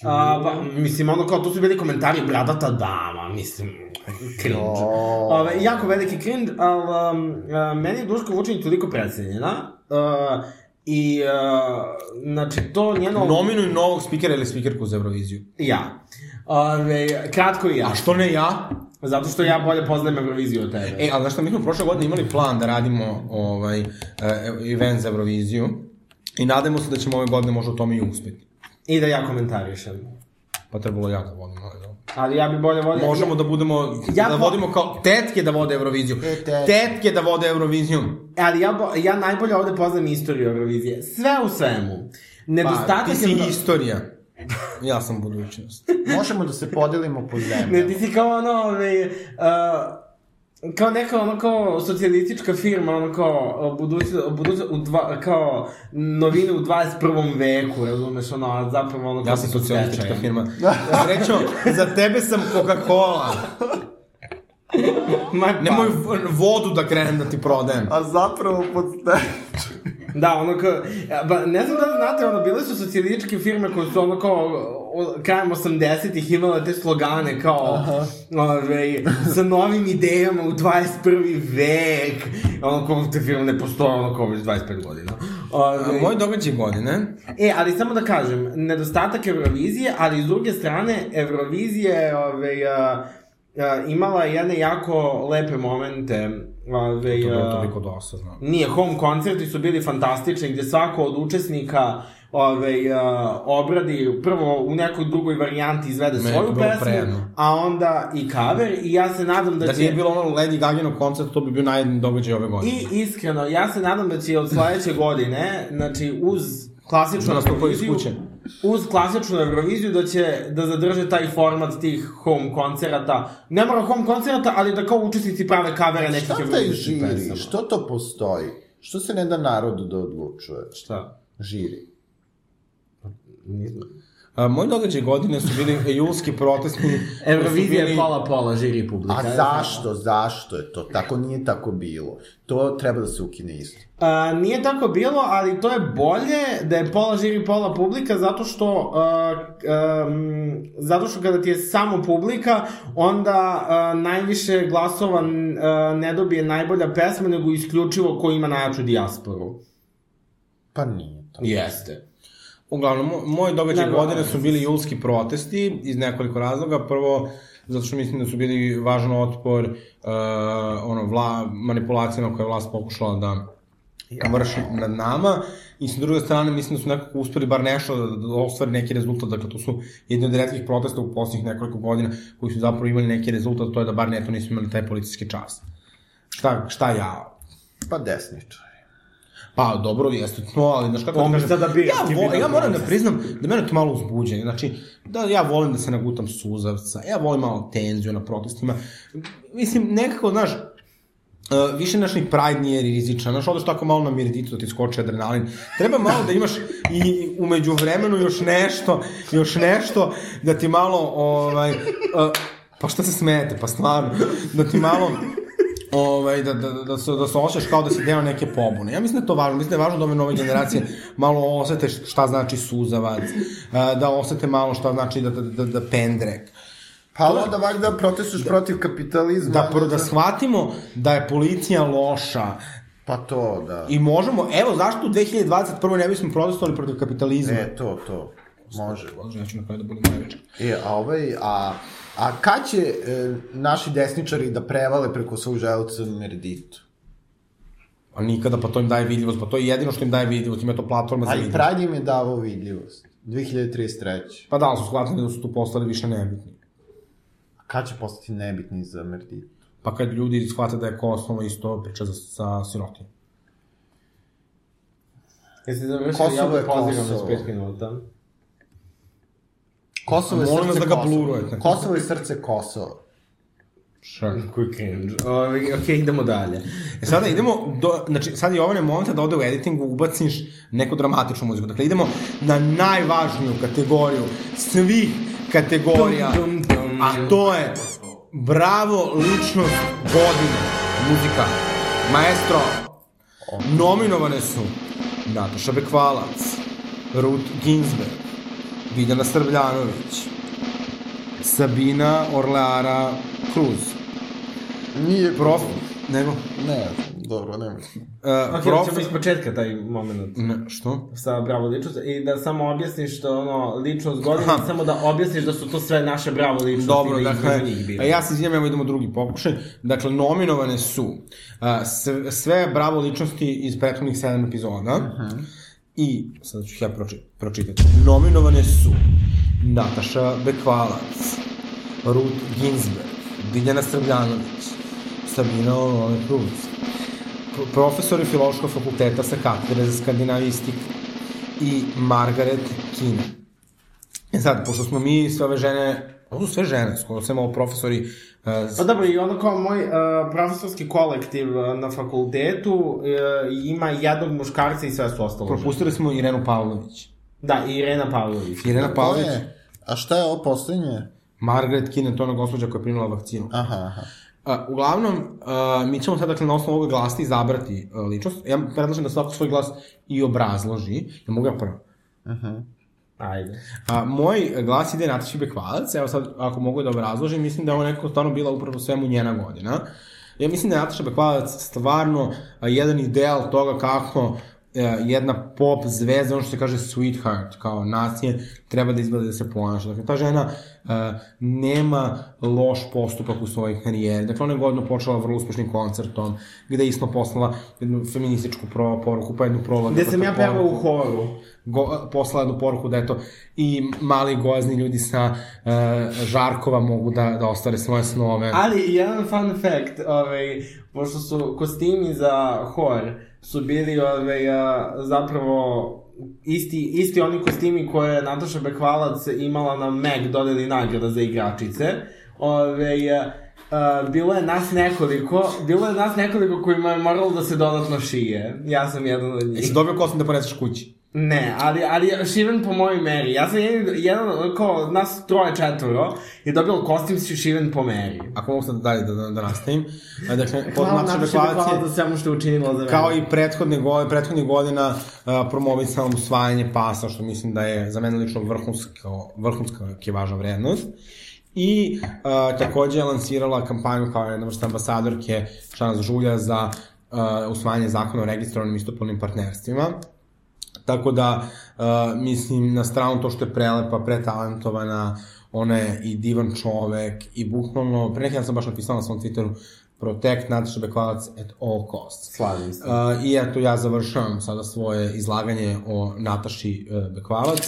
D: A, pa, mislim, ono kao, tu su bili komentari bradata dama, mislim, cringe. Ove, jako veliki cringe, ali um, a, meni je Duško Vučinić toliko precenjena. Uh, I, uh, znači, to njeno...
C: Nominuj novog spikera ili spikerku za Euroviziju.
D: Ja. Ove, kratko i ja.
C: A što ne ja?
D: Zato što ja bolje poznajem Euroviziju od tebe.
C: E, ali znaš šta, mi smo prošle godine imali plan da radimo ovaj, e, event za Euroviziju i nadamo se da ćemo ove godine možda u tome i uspeti.
D: I da ja komentarišem. da.
C: Pa trebalo ja da vodim, ali da.
D: Ali ja bi bolje volio...
C: Možemo da budemo, da
D: Ja po- E,
C: vodimo kao tetke da vode Euroviziju.
A: tetke.
C: Tetke da vode Euroviziju.
D: Ali ja, bo, ja najbolje ovde poznajem istoriju Eurovizije. Sve u svemu.
C: Pa,
D: Nedostatak
C: ti si
D: je...
C: istorija. Ja sam budućnost.
A: Možemo da se podelimo po zemlji.
D: Ne, ti si kao ono, ovaj, uh, kao neka ono kao socijalistička firma, ono kao budućnost, budućnost u dva, kao novine u 21. veku, razumeš, ono, a zapravo ono...
C: Ja
D: kao
C: sam
D: su
C: socijalistička
D: stečajem.
C: firma. Srećo, za tebe sam Coca-Cola.
D: Ma, pa.
C: Nemoj v- vodu da krenem da ti prodajem.
A: A zapravo pod
D: Da, ono kao, e, ba, ne znam da li znate, ono, bile su socijalističke firme koje su ono kao, o, krajem 80-ih imale te slogane kao, ove, sa novim idejama u 21. vek, ono kao, te firme ne postoje, ono kao, već 25 godina. Ovaj, Ove,
C: Moj događaj godine,
D: E, ali samo da kažem, nedostatak Eurovizije, ali s druge strane, Eurovizija je ove, a, a, imala jedne jako lepe momente. Ove,
C: to je
D: a,
C: toliko dosadno.
D: Nije, home koncerti su bili fantastični, gde svako od učesnika ove, a, obradi prvo u nekoj drugoj varijanti izvede
C: Meni je
D: svoju
C: to bilo
D: pesmu,
C: predivno.
D: a onda i cover i ja se nadam da,
C: Da
D: će...
C: nije bilo ono Lady Gaganog koncerta, to bi bio najjedni događaj ove godine.
D: I iskreno, ja se nadam da će od sledeće godine, znači uz klasičnu
C: Da nastupaju iz
D: Euroviziju,
C: kuće.
D: uz klasičnu Euroviziju da će da zadrže taj format tih home koncerata. Ne mora home koncerata, ali da kao učesnici prave kavere nekih
A: E, Šta taj
D: eurovizijskih
A: žiri?
D: pesama.
A: Što to postoji? Što se ne da narodu da odlučuje?
D: Šta?
A: Žiri.
C: A, moj događaj godine su bili julski protestni...
D: Eurovizija
C: su
D: je
C: bili-
D: pola pola žiri publika.
A: A zašto, zašto je to? Tako nije tako bilo. To treba da se ukine isto.
D: A, nije tako bilo, ali to je bolje da je pola žiri, pola publika, zato što, a, um, zato što kada ti je samo publika, onda a, najviše glasova n- a, ne dobije najbolja pesma, nego isključivo ko ima najjaču dijasporu.
A: Pa nije tako.
D: Jeste.
C: Uglavnom, mo- moj događaj
D: Da,
C: godine
D: glavno.
C: su bili julski protesti iz nekoliko razloga. Prvo, zato što mislim da su bili važan otpor uh, ono, vla, manipulacijama koje je vlast pokušala da vrši nad nama i sa druge strane mislim da su nekako uspeli bar nešto da, da ostvari neki rezultat, dakle to su jedni od redkih protesta u poslednjih nekoliko godina koji su zapravo imali neki rezultat, to je da bar neto nisu imali taj policijski čas. Šta, šta ja?
A: Pa desničari.
C: Pa dobro, jeste to, ali znaš kako
D: Pomisla da bi-
C: ja, vo,
D: bi
C: ja
D: da
C: moram da
D: proces.
C: priznam da mene to malo uzbuđe. Znači, da ja volim da se nagutam suzavca, ja volim malo tenziju na protestima. Mislim, nekako, znaš, Uh, više naš ni pride nije rizičan, znaš, odeš tako malo na mirdicu da ti skoči adrenalin. Treba malo da imaš i umeđu vremenu još nešto, još nešto, da ti malo, ovaj, uh, pa šta se smete, pa stvarno, da ti malo, ovaj, da, da, da, se, da se osjećaš kao da si deo neke pobune. Ja mislim da je to važno, mislim da je važno da ove nove generacije malo osete šta znači suzavac, uh, da osete malo šta znači da, da, da, da pendrek.
A: Pa onda valjda protestuješ protiv kapitalizma.
C: Da, pro, da shvatimo da je policija loša,
A: Pa to, da.
C: I možemo, evo zašto u 2021. ne bismo protestovali protiv kapitalizma?
A: E, to, to. Može.
C: Bože, ja ću na kraju da budem najveći.
A: E, a ovaj, a, a kad će e, naši desničari da prevale preko svog želca Merditu?
C: A nikada, pa to im daje vidljivost, pa to je jedino što im daje vidljivost, ima to platforma za
A: Ali
C: vidljivost.
A: Pride im je davao vidljivost. 2033.
C: Pa da, ali su shvatili da su tu postali više nebitni.
A: A Kad će postati nebitni za Merditu?
C: Pa kad ljudi shvate da je Kosovo isto priča za, sa sirotinjom.
D: Jesi završio
A: Kosovo
D: javno
A: je
D: pozivam
A: Kosovo.
D: za 5 minuta?
A: Kosovo je
C: Molim
A: srce
C: vas da ga
A: Kosova.
C: blurujete.
A: Kosovo je srce Kosova.
C: Sure.
D: Koji cringe. Ovi, ok, idemo dalje.
C: E sada idemo, do, znači sad je ovaj moment da ode u editingu ubaciš neku dramatičnu muziku. Dakle, idemo na najvažniju kategoriju svih kategorija,
D: Dum, dum, dum.
C: a to je Bravo ličnost godine muzika. Maestro, nominovane su Nataša Bekvalac, Ruth Ginsberg, Biljana Srbljanović, Sabina Orleara Cruz,
A: Nije
C: prof... Nego?
A: Ne, dobro, ne mislim.
C: Uh,
D: Ok,
C: prof...
D: ćemo iz početka taj moment.
C: Ne, što?
D: sa bravo ličnost i da samo objasniš što ono ličnost godine,
C: Aha.
D: samo da objasniš da su to sve naše bravo ličnosti.
C: Dobro,
D: ili
C: dakle,
D: između njih bilo.
C: a ja se izvijem, evo idemo drugi pokušaj. Dakle, nominovane su a, sve, sve bravo ličnosti iz prethodnih 7 epizoda. I, sad ću ih ja proči, pročitati. Nominovane su Nataša Bekvalac, Ruth Ginsberg, Biljana Srbljanović, Sabina Olone Cruz, pr- profesori Filološkog fakulteta sa katedre za skandinavistiku i Margaret Kina. E sad, pošto smo mi sve ove žene, ovo su sve žene, skoro sve malo profesori, uh,
D: Pa dobro, i ono kao moj uh, profesorski kolektiv uh, na fakultetu uh, ima jednog muškarca i sve su ostalo. žene.
C: propustili smo Irenu Pavlović.
D: Da, i Irena Pavlović.
C: Irena
A: To
C: Pavlović,
A: je, a šta je ovo poslednje?
C: Margaret Kinen, to je ona gospođa koja je primila vakcinu.
A: Aha, aha.
C: Uh, uglavnom, uh, mi ćemo sad, dakle, na osnovu ovog glasa izabrati uh, ličnost. Ja predlažem da svako svoj glas i obrazloži. Ja mogu ja prvo.
D: Ajde.
C: A, moj glas ide Nataši Bekvalac, evo sad ako mogu da obrazložim, mislim da je ovo nekako stvarno bila upravo svemu njena godina. Ja mislim da je Nataša Bekvalac stvarno a, jedan ideal toga kako e, jedna pop zvezda, ono što se kaže sweetheart, kao nacije, treba da izgleda i da se ponaša. Dakle, ta žena e, nema loš postupak u svojoj karijeri. Dakle, ona je godinu počela vrlo uspešnim koncertom, gde je isto poslala jednu feminističku pro, poruku, pa jednu prolagu.
D: Gde
C: pa
D: sam
C: tu
D: ja pevao u
C: poruku
D: horu.
C: go, poslala jednu poruku da eto i mali gozni ljudi sa e, Žarkova mogu da, da ostvare svoje snove. A...
D: Ali jedan fun fact, ovaj, pošto su kostimi za hor su bili ovaj, a, zapravo isti, isti oni kostimi koje je Nataša Bekvalac imala na Meg dodeli nagrada za igračice. Ovaj, a, a, bilo je nas nekoliko, bilo je nas nekoliko kojima je moralo da se dodatno šije. Ja sam jedan od njih.
C: Jesi dobio kostum da poneseš kući?
D: Ne, ali, ali šiven po mojoj meri. Ja sam jedan, jedan kao nas troje četvoro je dobio kostim šiven po meri.
C: Ako mogu sad dalje da, da, da nastavim. E, Dakle, pod
D: da Hvala
C: Nataša
D: Nataša
C: Bekvalac
D: Bekvalac
C: je,
D: za svemu što je učinila za mene.
C: kao i prethodne godine, prethodnih godina uh, promovisala usvajanje pasa, što mislim da je za mene lično vrhunsko, vrhunska kivaža vrednost. I uh, takođe je lansirala kampanju kao jedna vrsta ambasadorke Šans Žulja za uh, usvajanje zakona o registrovanim istopolnim partnerstvima. Tako da, uh, mislim, na stranu to što je prelepa, pretalentovana, ona je i divan čovek i bukvalno, pre neki dan sam baš napisala na svom Twitteru, protect Nataša Bekvalac at all costs.
D: Slažem se.
C: Uh, I eto, ja završavam sada svoje izlaganje o Nataši uh, Bekvalac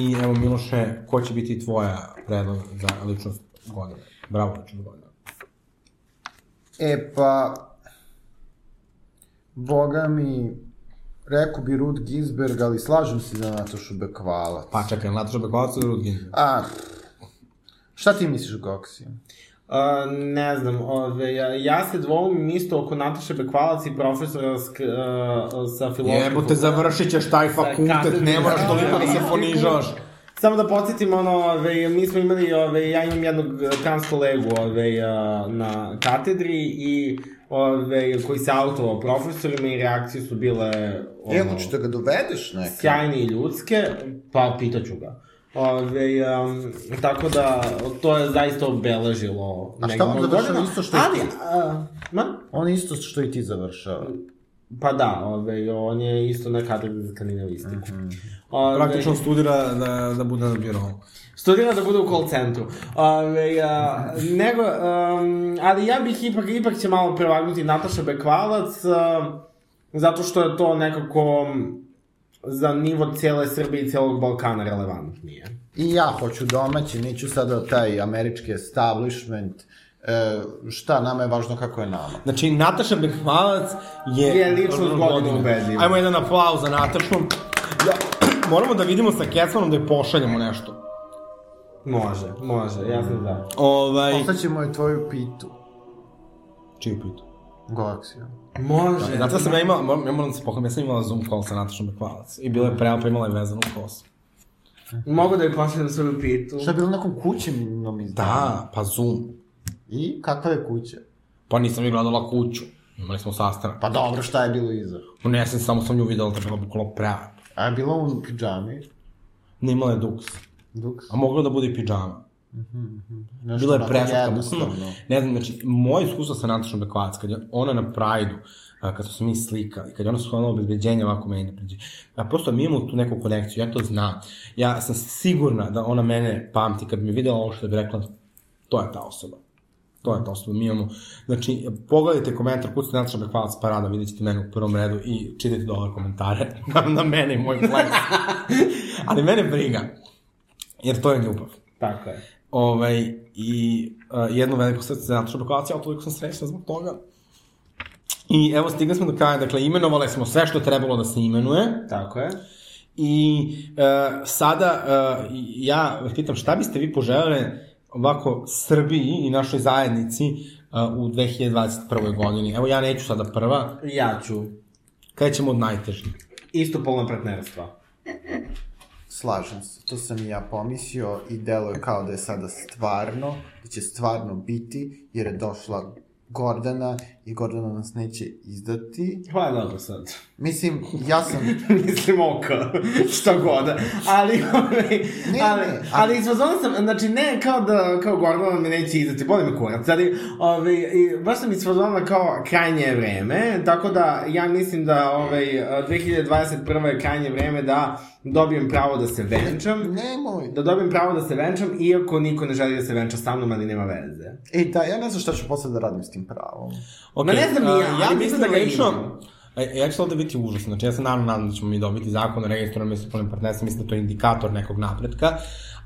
C: i evo Miloše, ko će biti tvoja predlog za ličnost godine? Bravo, ličnost godine.
A: E pa, boga mi, rekao bi Ruth Ginsberg, ali slažem se za Natašu Bekvalac.
C: Pa čekaj, Nataša Bekvalac ili Rudgin?
A: A, Ah. šta ti misliš, Goksi?
D: Uh, ne znam, ove, ja, ja se dvolim isto oko Nataše Bekvalac i profesora sk, uh, sa filozofije.
C: Jebote, završit ćeš taj fakultet, ne moraš toliko da se ponižavaš.
D: Samo da podsjetim, ono, ove, mi smo imali, ove, ja imam jednog e, trans kolegu ove, a, na katedri i ove, koji se autovao profesorima i reakcije su bile...
C: E,
D: Ono,
C: da
A: ga dovedeš neka.
D: sjajne i ljudske, pa pitaću ga. Ove, um, tako da, to je zaista obeležilo.
A: A šta
D: njegovu
A: on završava
D: godinu.
A: isto što i
D: Ali,
A: ti?
D: a, ma?
A: On isto što i ti završava.
D: Pa da, ove, on je isto na katedri za skandinavistiku.
A: Mhm.
D: Mm -hmm.
C: Praktično studira da, da bude na birovu.
D: Studira da bude u call centru. Ove, a, nego, um, ali ja bih ipak, ipak će malo prevagnuti Nataša Bekvalac, a, zato što je to nekako za nivo cijele Srbije i cijelog Balkana relevantnije.
A: I ja hoću domaći, neću sada taj američki establishment, e, šta nama je važno, kako je nama.
C: Znači, Nataša Bekmalac je...
D: Je ličnost godine ubedljiva.
C: Ajmo jedan aplauz za Natašu. Ja, moramo da vidimo sa Kecmanom da je pošaljemo nešto.
D: Može, može, ja sam za.
C: Ovaj...
A: Ostaćemo je tvoju pitu,
C: Čiju pitu?
A: Galaksiju.
D: Može.
C: Zato sam ja imala, moram- ja moram da se pohvalim, ja sam imala Zoom call sa Natašom Bekmalac. I bila je prelepa, imala je vezanu kosu.
D: Mogu da joj pošaljem svoju pitu.
A: Šta je bilo nakon kućinom izdanju?
C: Da, pa Zoom.
A: I kakva je kuća?
C: Pa nisam mi gledala kuću. Imali smo sastanak.
A: Pa dobro, šta je bilo iza?
C: Pa ne, ja sam samo sam nju videla da je bila bukvalno prelepa.
A: A je bilo u pijami,
C: Ne imala je duks.
A: duks.
C: A mogla da bude i pijama.
A: Nešto
C: Bilo je
A: onako Mhm.
C: preslatka.
A: jednostavno.
C: Ne znam, znači, moje iskustvo sa Natašom Bekvalac, kad je ona na Prajdu, kad su se mi slikali, kad je ona sklonila obezbeđenje ovako meni ne priđe. A prosto mi imamo tu neku konekciju, ja to znam. Ja sam sigurna da ona mene pamti, kad bi me videla ovo što bi rekla, to je ta osoba. To je ta osoba, mi imamo. Znači, pogledajte komentar, kucite Nataša Bekvalac parada, vidjet ćete mene u prvom redu i čitajte dole komentare na, na mene i moj flex. Ali mene briga, jer to je ljubav.
D: Tako je.
C: Ovaj, i uh, jedno veliko srce za Natašu Bekvalac, ja toliko sam srećna zbog toga. I evo, stigli smo do kraja, dakle, imenovali smo sve što je trebalo da se imenuje
D: Tako je.
C: i uh, sada uh, ja vas pitam šta biste vi poželjeli ovako Srbiji i našoj zajednici uh, u 2021. godini. Evo, ja neću sada prva,
D: Ja ću.
C: krećemo od najtežih.
D: Istopolna partnerstva.
A: Slažem se, to sam i ja pomislio i deluje kao da je sada stvarno, da će stvarno biti, jer je došla Gordana i Gordana nas neće izdati.
D: Hvala dobro sad.
A: Mislim, ja sam...
D: Mislim oko, što god. Ali, ovaj,
A: Ne,
D: ali,
A: ne, ali-
D: ali iz fazona sam, znači ne kao da, kao Gordana me neće izdati, boli me kurac, ali ovaj, i baš sam iz fazona kao krajnje je vreme, tako da ja mislim da ovaj, 2021. je krajnje vreme da dobijem pravo da se venčam,
A: Nemoj!
D: da dobijem pravo da se venčam, iako niko ne želi da se venča sa mnom, ali nema veze.
A: E, da, ja ne znam šta ću posle da radim s tim pravom.
C: Okay.
D: Ma ne znam ni ja, ali
C: ja
D: mislim
C: mislim da
D: da
C: ga
D: ga
C: lično,
D: imam.
C: E, ja ću ovde biti užasno, znači ja se naravno nadam da ćemo mi dobiti zakon o registrovanom mesospolnim partnerstvom, mislim da to je indikator nekog napretka,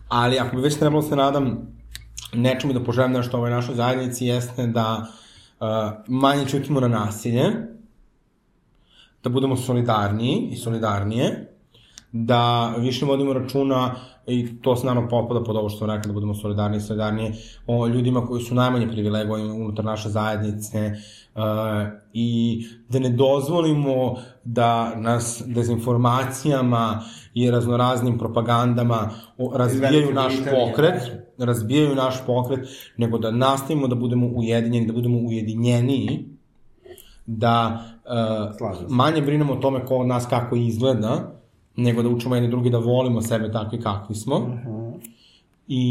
C: ali ako bi već trebalo da se nadam nečemu da poželim nešto ovoj našoj zajednici jeste da uh, manje čutimo na nasilje, da budemo solidarniji i solidarnije, da više vodimo računa i to se naravno potpada pod ovo što sam rekao, da budemo solidarni i solidarnije o ljudima koji su najmanje privilegovani unutar naše zajednice e, i da ne dozvolimo da nas dezinformacijama i raznoraznim propagandama o- razbijaju
D: Velike
C: naš
D: Britanije,
C: pokret,
D: znači.
C: razbijaju naš pokret, nego da nastavimo da budemo ujedinjeni, da budemo ujedinjeniji, da
D: Slažem
C: uh,
D: se.
C: manje brinemo o tome ko od nas kako izgleda, nego da učimo jedni drugi da volimo sebe takvi kakvi smo.
D: Mhm.
C: I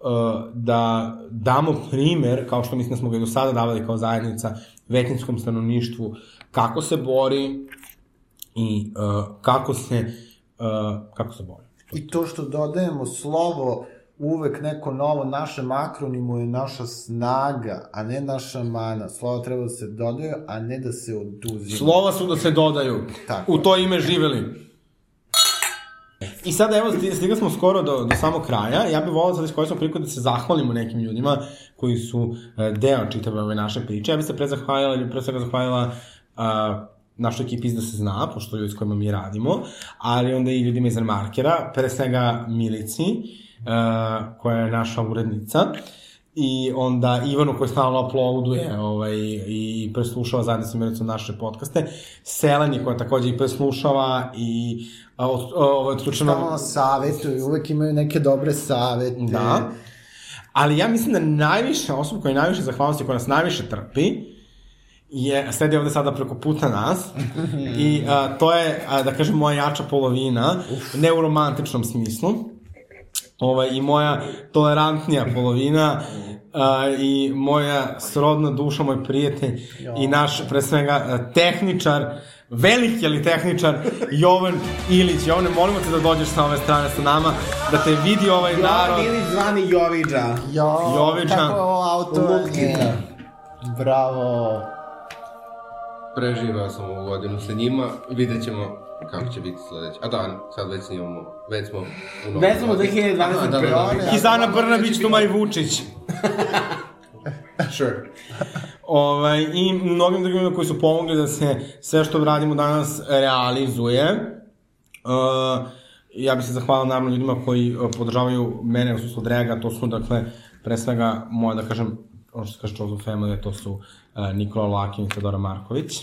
C: uh, da damo primer, kao što mislim da smo ga i do sada davali kao zajednica, većinskom stanovništvu, kako se bori i uh, kako se uh, kako se bori.
A: I to što dodajemo slovo, uvek neko novo našem akronimu je naša snaga, a ne naša mana. Slovo treba da se dodaju, a ne da se oduzima.
C: Slova su da se dodaju.
A: Tako.
C: U to ime živeli. I sada evo, sti- stigli smo skoro do, do samog kraja. Ja bih volao sad iskoristiti priliku da se zahvalimo nekim ljudima koji su e, deo čitave ove naše priče. Ja bih se pre zahvalila, ili pre svega zahvalila a, našoj ekipi iz da se zna, pošto ljudi s kojima mi radimo, ali onda i ljudima iz Remarkera, pre svega Milici, e, koja je naša urednica, i onda Ivanu koji stalno uploaduje ovaj, i preslušava zajedno sa Miricom naše podcaste, Seleni koja takođe i preslušava i a, od, a, ovo je odključeno...
A: Stalno nas savetuju, uvek imaju neke dobre savete.
C: Da. Ali ja mislim da najviše osoba koja je najviše zahvalnosti, koja nas najviše trpi, je, sedi ovde sada preko puta nas i a, to je, a, da kažem, moja jača polovina, ne u romantičnom smislu, ovaj, i moja tolerantnija polovina a, i moja srodna duša, moj prijatelj i naš, pre svega, a, tehničar, veliki ali tehničar, Jovan Ilić. Jovane, molimo te da dođeš sa ove strane sa nama, da te vidi ovaj narod.
D: Ili zvani Joviđa.
A: Jo,
C: Jovičan.
A: kako je ovo auto?
D: Lutkica.
A: E, Bravo.
F: Preživao sam ovu godinu sa njima, vidjet ćemo kako će biti sledeće. A da, sad već imamo, već smo u novom.
D: Već smo 2021.
F: Aha, da, da, da.
C: Kizana Brnabić, Toma i Vučić.
F: Sure.
C: Ovaj, I mnogim drugima koji su pomogli da se sve što radimo danas realizuje. Uh, ja bih se zahvalio naravno ljudima koji uh, podržavaju mene u smislu draga, to su dakle pre svega moja da kažem, ono što se kaže Chosen Family, to su uh, Nikola Lakin i Fedora Marković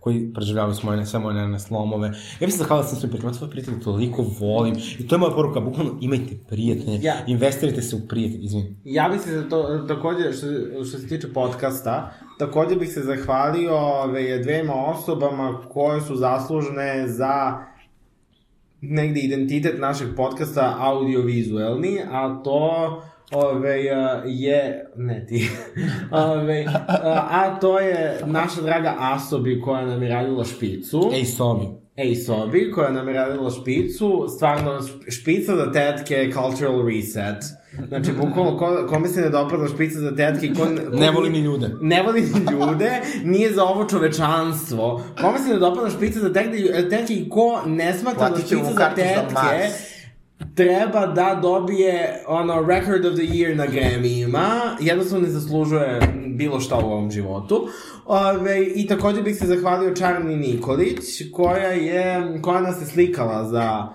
C: koji preživljavaju s moje, sve moje nervne slomove. Ja bih se zahvalio da sam svoj prijatelj, ja svoje prijatelje toliko volim. I to je moja poruka, bukvalno imajte prijatelje,
D: Ja.
C: investirajte se u prijatelje, izvini.
D: Ja bih se za to, takođe, što, što se tiče podcasta, takođe bih se zahvalio ove, dvema osobama koje su zaslužne za negde identitet našeg podcasta audiovizuelni, a to ove, a, je, ne ti, ove, a, a to je naša draga Asobi koja nam je radila špicu.
C: Ej, sobi.
D: Ej Sobi, koja nam je radila špicu, stvarno šp- špica za tetke je cultural reset. Znači, bukvalno, ko, da kome se ne dopadla špica za tetke i ko... ko
C: Ne volim ni ljude.
D: Ne voli ni ljude, nije za ovo čovečanstvo. Kome se ne dopadla špica za tetke, e, tetke i ko ne smatra da
A: Platit ćemo
D: špica za
A: kartu za
D: tetke
A: Mars.
D: treba da dobije ono record of the year na Grammyima, jednostavno ne zaslužuje bilo šta u ovom životu. Ove, I takođe bih se zahvalio Čarni Nikolić, koja je, koja nas je slikala za,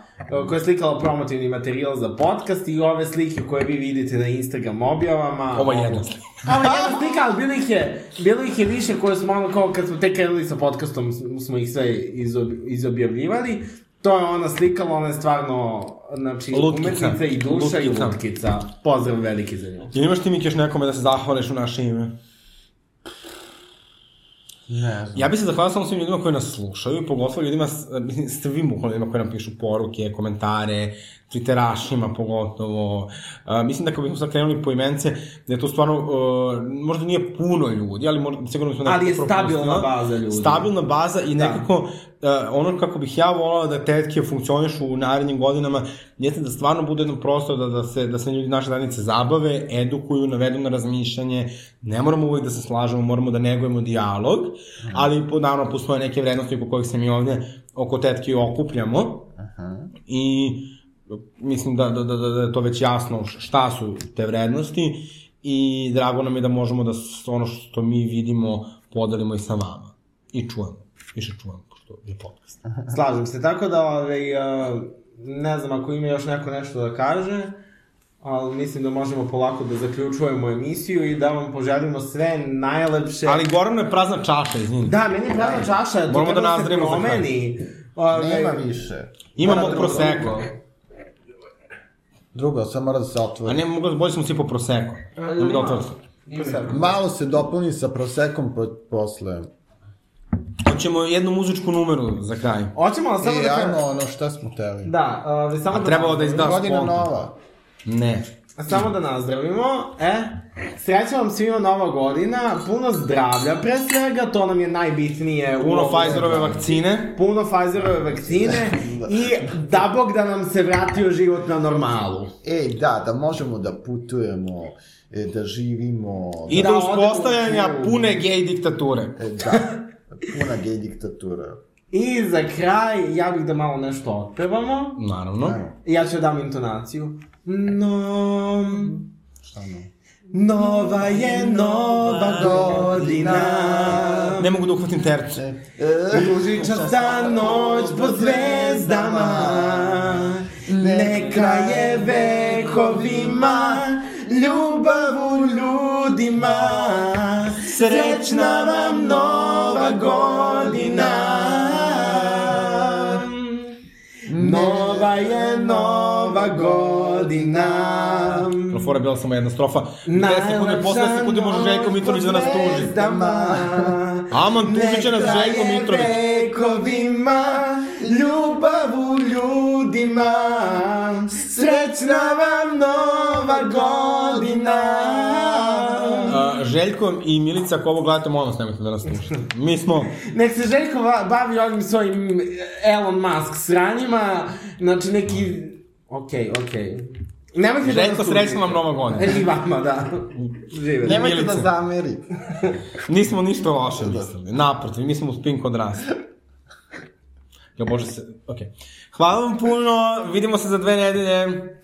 D: koja je slikala promotivni materijal za podcast i ove slike koje vi vidite na Instagram objavama.
C: Ovo je jedna slika.
D: Ovo je jedna slika, ali bilo ih je, bilo ih je više koje smo ono kao kad smo tek krenuli sa podcastom s- smo ih sve izob, izobjavljivali. To je ona slikala, ona je stvarno, znači,
C: Lutkica.
D: umetnica i duša i
C: Lutkica.
D: lutkica. Pozdrav veliki za nju.
C: Jel imaš ti mi ćeš nekome da se zahvališ u naše ime?
A: Ne znam.
C: Ja bih se zahvalio samo svim ljudima koji nas slušaju, pogotovo ljudima, s- mislim, svim bukvalno ljudima koji nam pišu poruke, komentare, twitterašima pogotovo. A, mislim da ako bismo sad krenuli po imence, da je to stvarno, uh, možda nije puno ljudi, ali možda, sigurno bismo
D: Ali je
C: propustili.
D: stabilna baza ljudi.
C: Stabilna baza i nekako da. uh, ono kako bih ja volao da tetke funkcionišu u narednim godinama, jeste da stvarno bude jedno prostor da, da, se, da se ljudi naše zajednice zabave, edukuju, navedu na razmišljanje, ne moramo uvek da se slažemo, moramo da negujemo dijalog, ali po, naravno postoje neke vrednosti oko kojih se mi ovde oko tetke okupljamo i mislim da, da, da, da da je to već jasno š- šta su te vrednosti i drago nam je da možemo da s- ono što mi vidimo podelimo i sa vama i čujemo, više čujemo pošto je podcast.
D: Slažem se, tako da, ovaj, a, ne znam ako ima još neko nešto da kaže, ali mislim da možemo polako da zaključujemo emisiju i da vam poželimo sve najlepše.
C: Ali Gorano je prazna čaša, izvini. Da.
D: Da, meni je prazna čaša, to
C: Moramo da
D: treba da se
C: nazremo za kraj.
D: promeni. Ovaj,
A: Nema više.
C: Imamo proseko.
A: Drugo, sad mora da se
C: A
A: otvori.
C: ne, mogu, bolje smo svi po proseko. Da mi da otvorim.
A: Malo se dopuni sa prosekom po, posle.
C: Hoćemo jednu muzičku numeru za kraj.
D: Hoćemo ali samo
A: I
D: da...
A: E, ajmo ono šta smo teli.
D: Da, ovaj, samo
C: A trebalo da izda
A: Godina
C: spontan.
A: nova.
C: Ne.
D: Samo da nazdravimo. E, sreća vam svima nova godina, puno zdravlja pre svega, to nam je najbitnije. u
C: Puno
D: ovom-
C: Pfizerove vakcine.
D: Puno Pfizerove vakcine i da bog da nam se vratio život na normalu.
A: E, da, da možemo da putujemo, e, da živimo.
C: I
D: Da,
C: do
D: odemo u
C: uspostavljanja
D: Kijevu.
C: pune gej diktature.
A: Da, e, da, puna gej diktatura.
D: I za kraj, ja bih da malo nešto otpevamo.
C: Naravno.
A: Ajmo.
D: Ja ću da dam intonaciju. No...
A: Šta ono?
D: Nova je nova godina.
C: Ne mogu da uhvatim terče.
A: E,
D: Ružičasta noć pod zvezdama Neka je vekovima Ljubav u ljudima Srećna vam nova godina Nova je nova godina
C: Pro fora je bila samo jedna strofa. 10 sekundi, posle 10 sekundi može Željko Mitrović da nas tuži.
D: tuži
C: Aman, tužit će nas Željko Mitrović.
D: Neka je vekovima, ljubav u ljudima, srećna vam nova godina.
C: Uh, Željko i Milica, ako ovo gledate, molim vas, nemojte da nas slušate. Mi smo,
D: Nek se Željko va- bavi ovim svojim eh, Elon Musk sranjima, znači neki... Okej, okej. Nemojte da
C: Željko,
D: nas
C: srećna vam
D: tužite.
C: nova godina.
D: E, I vama, da. Živjeli.
A: Nemojte da
C: Milice.
A: zameri.
C: Nismo ništa loše mislili. Naprotiv, mi smo spin kod rasta. Ja može se... Ok. Hvala vam puno, vidimo se za dve nedelje.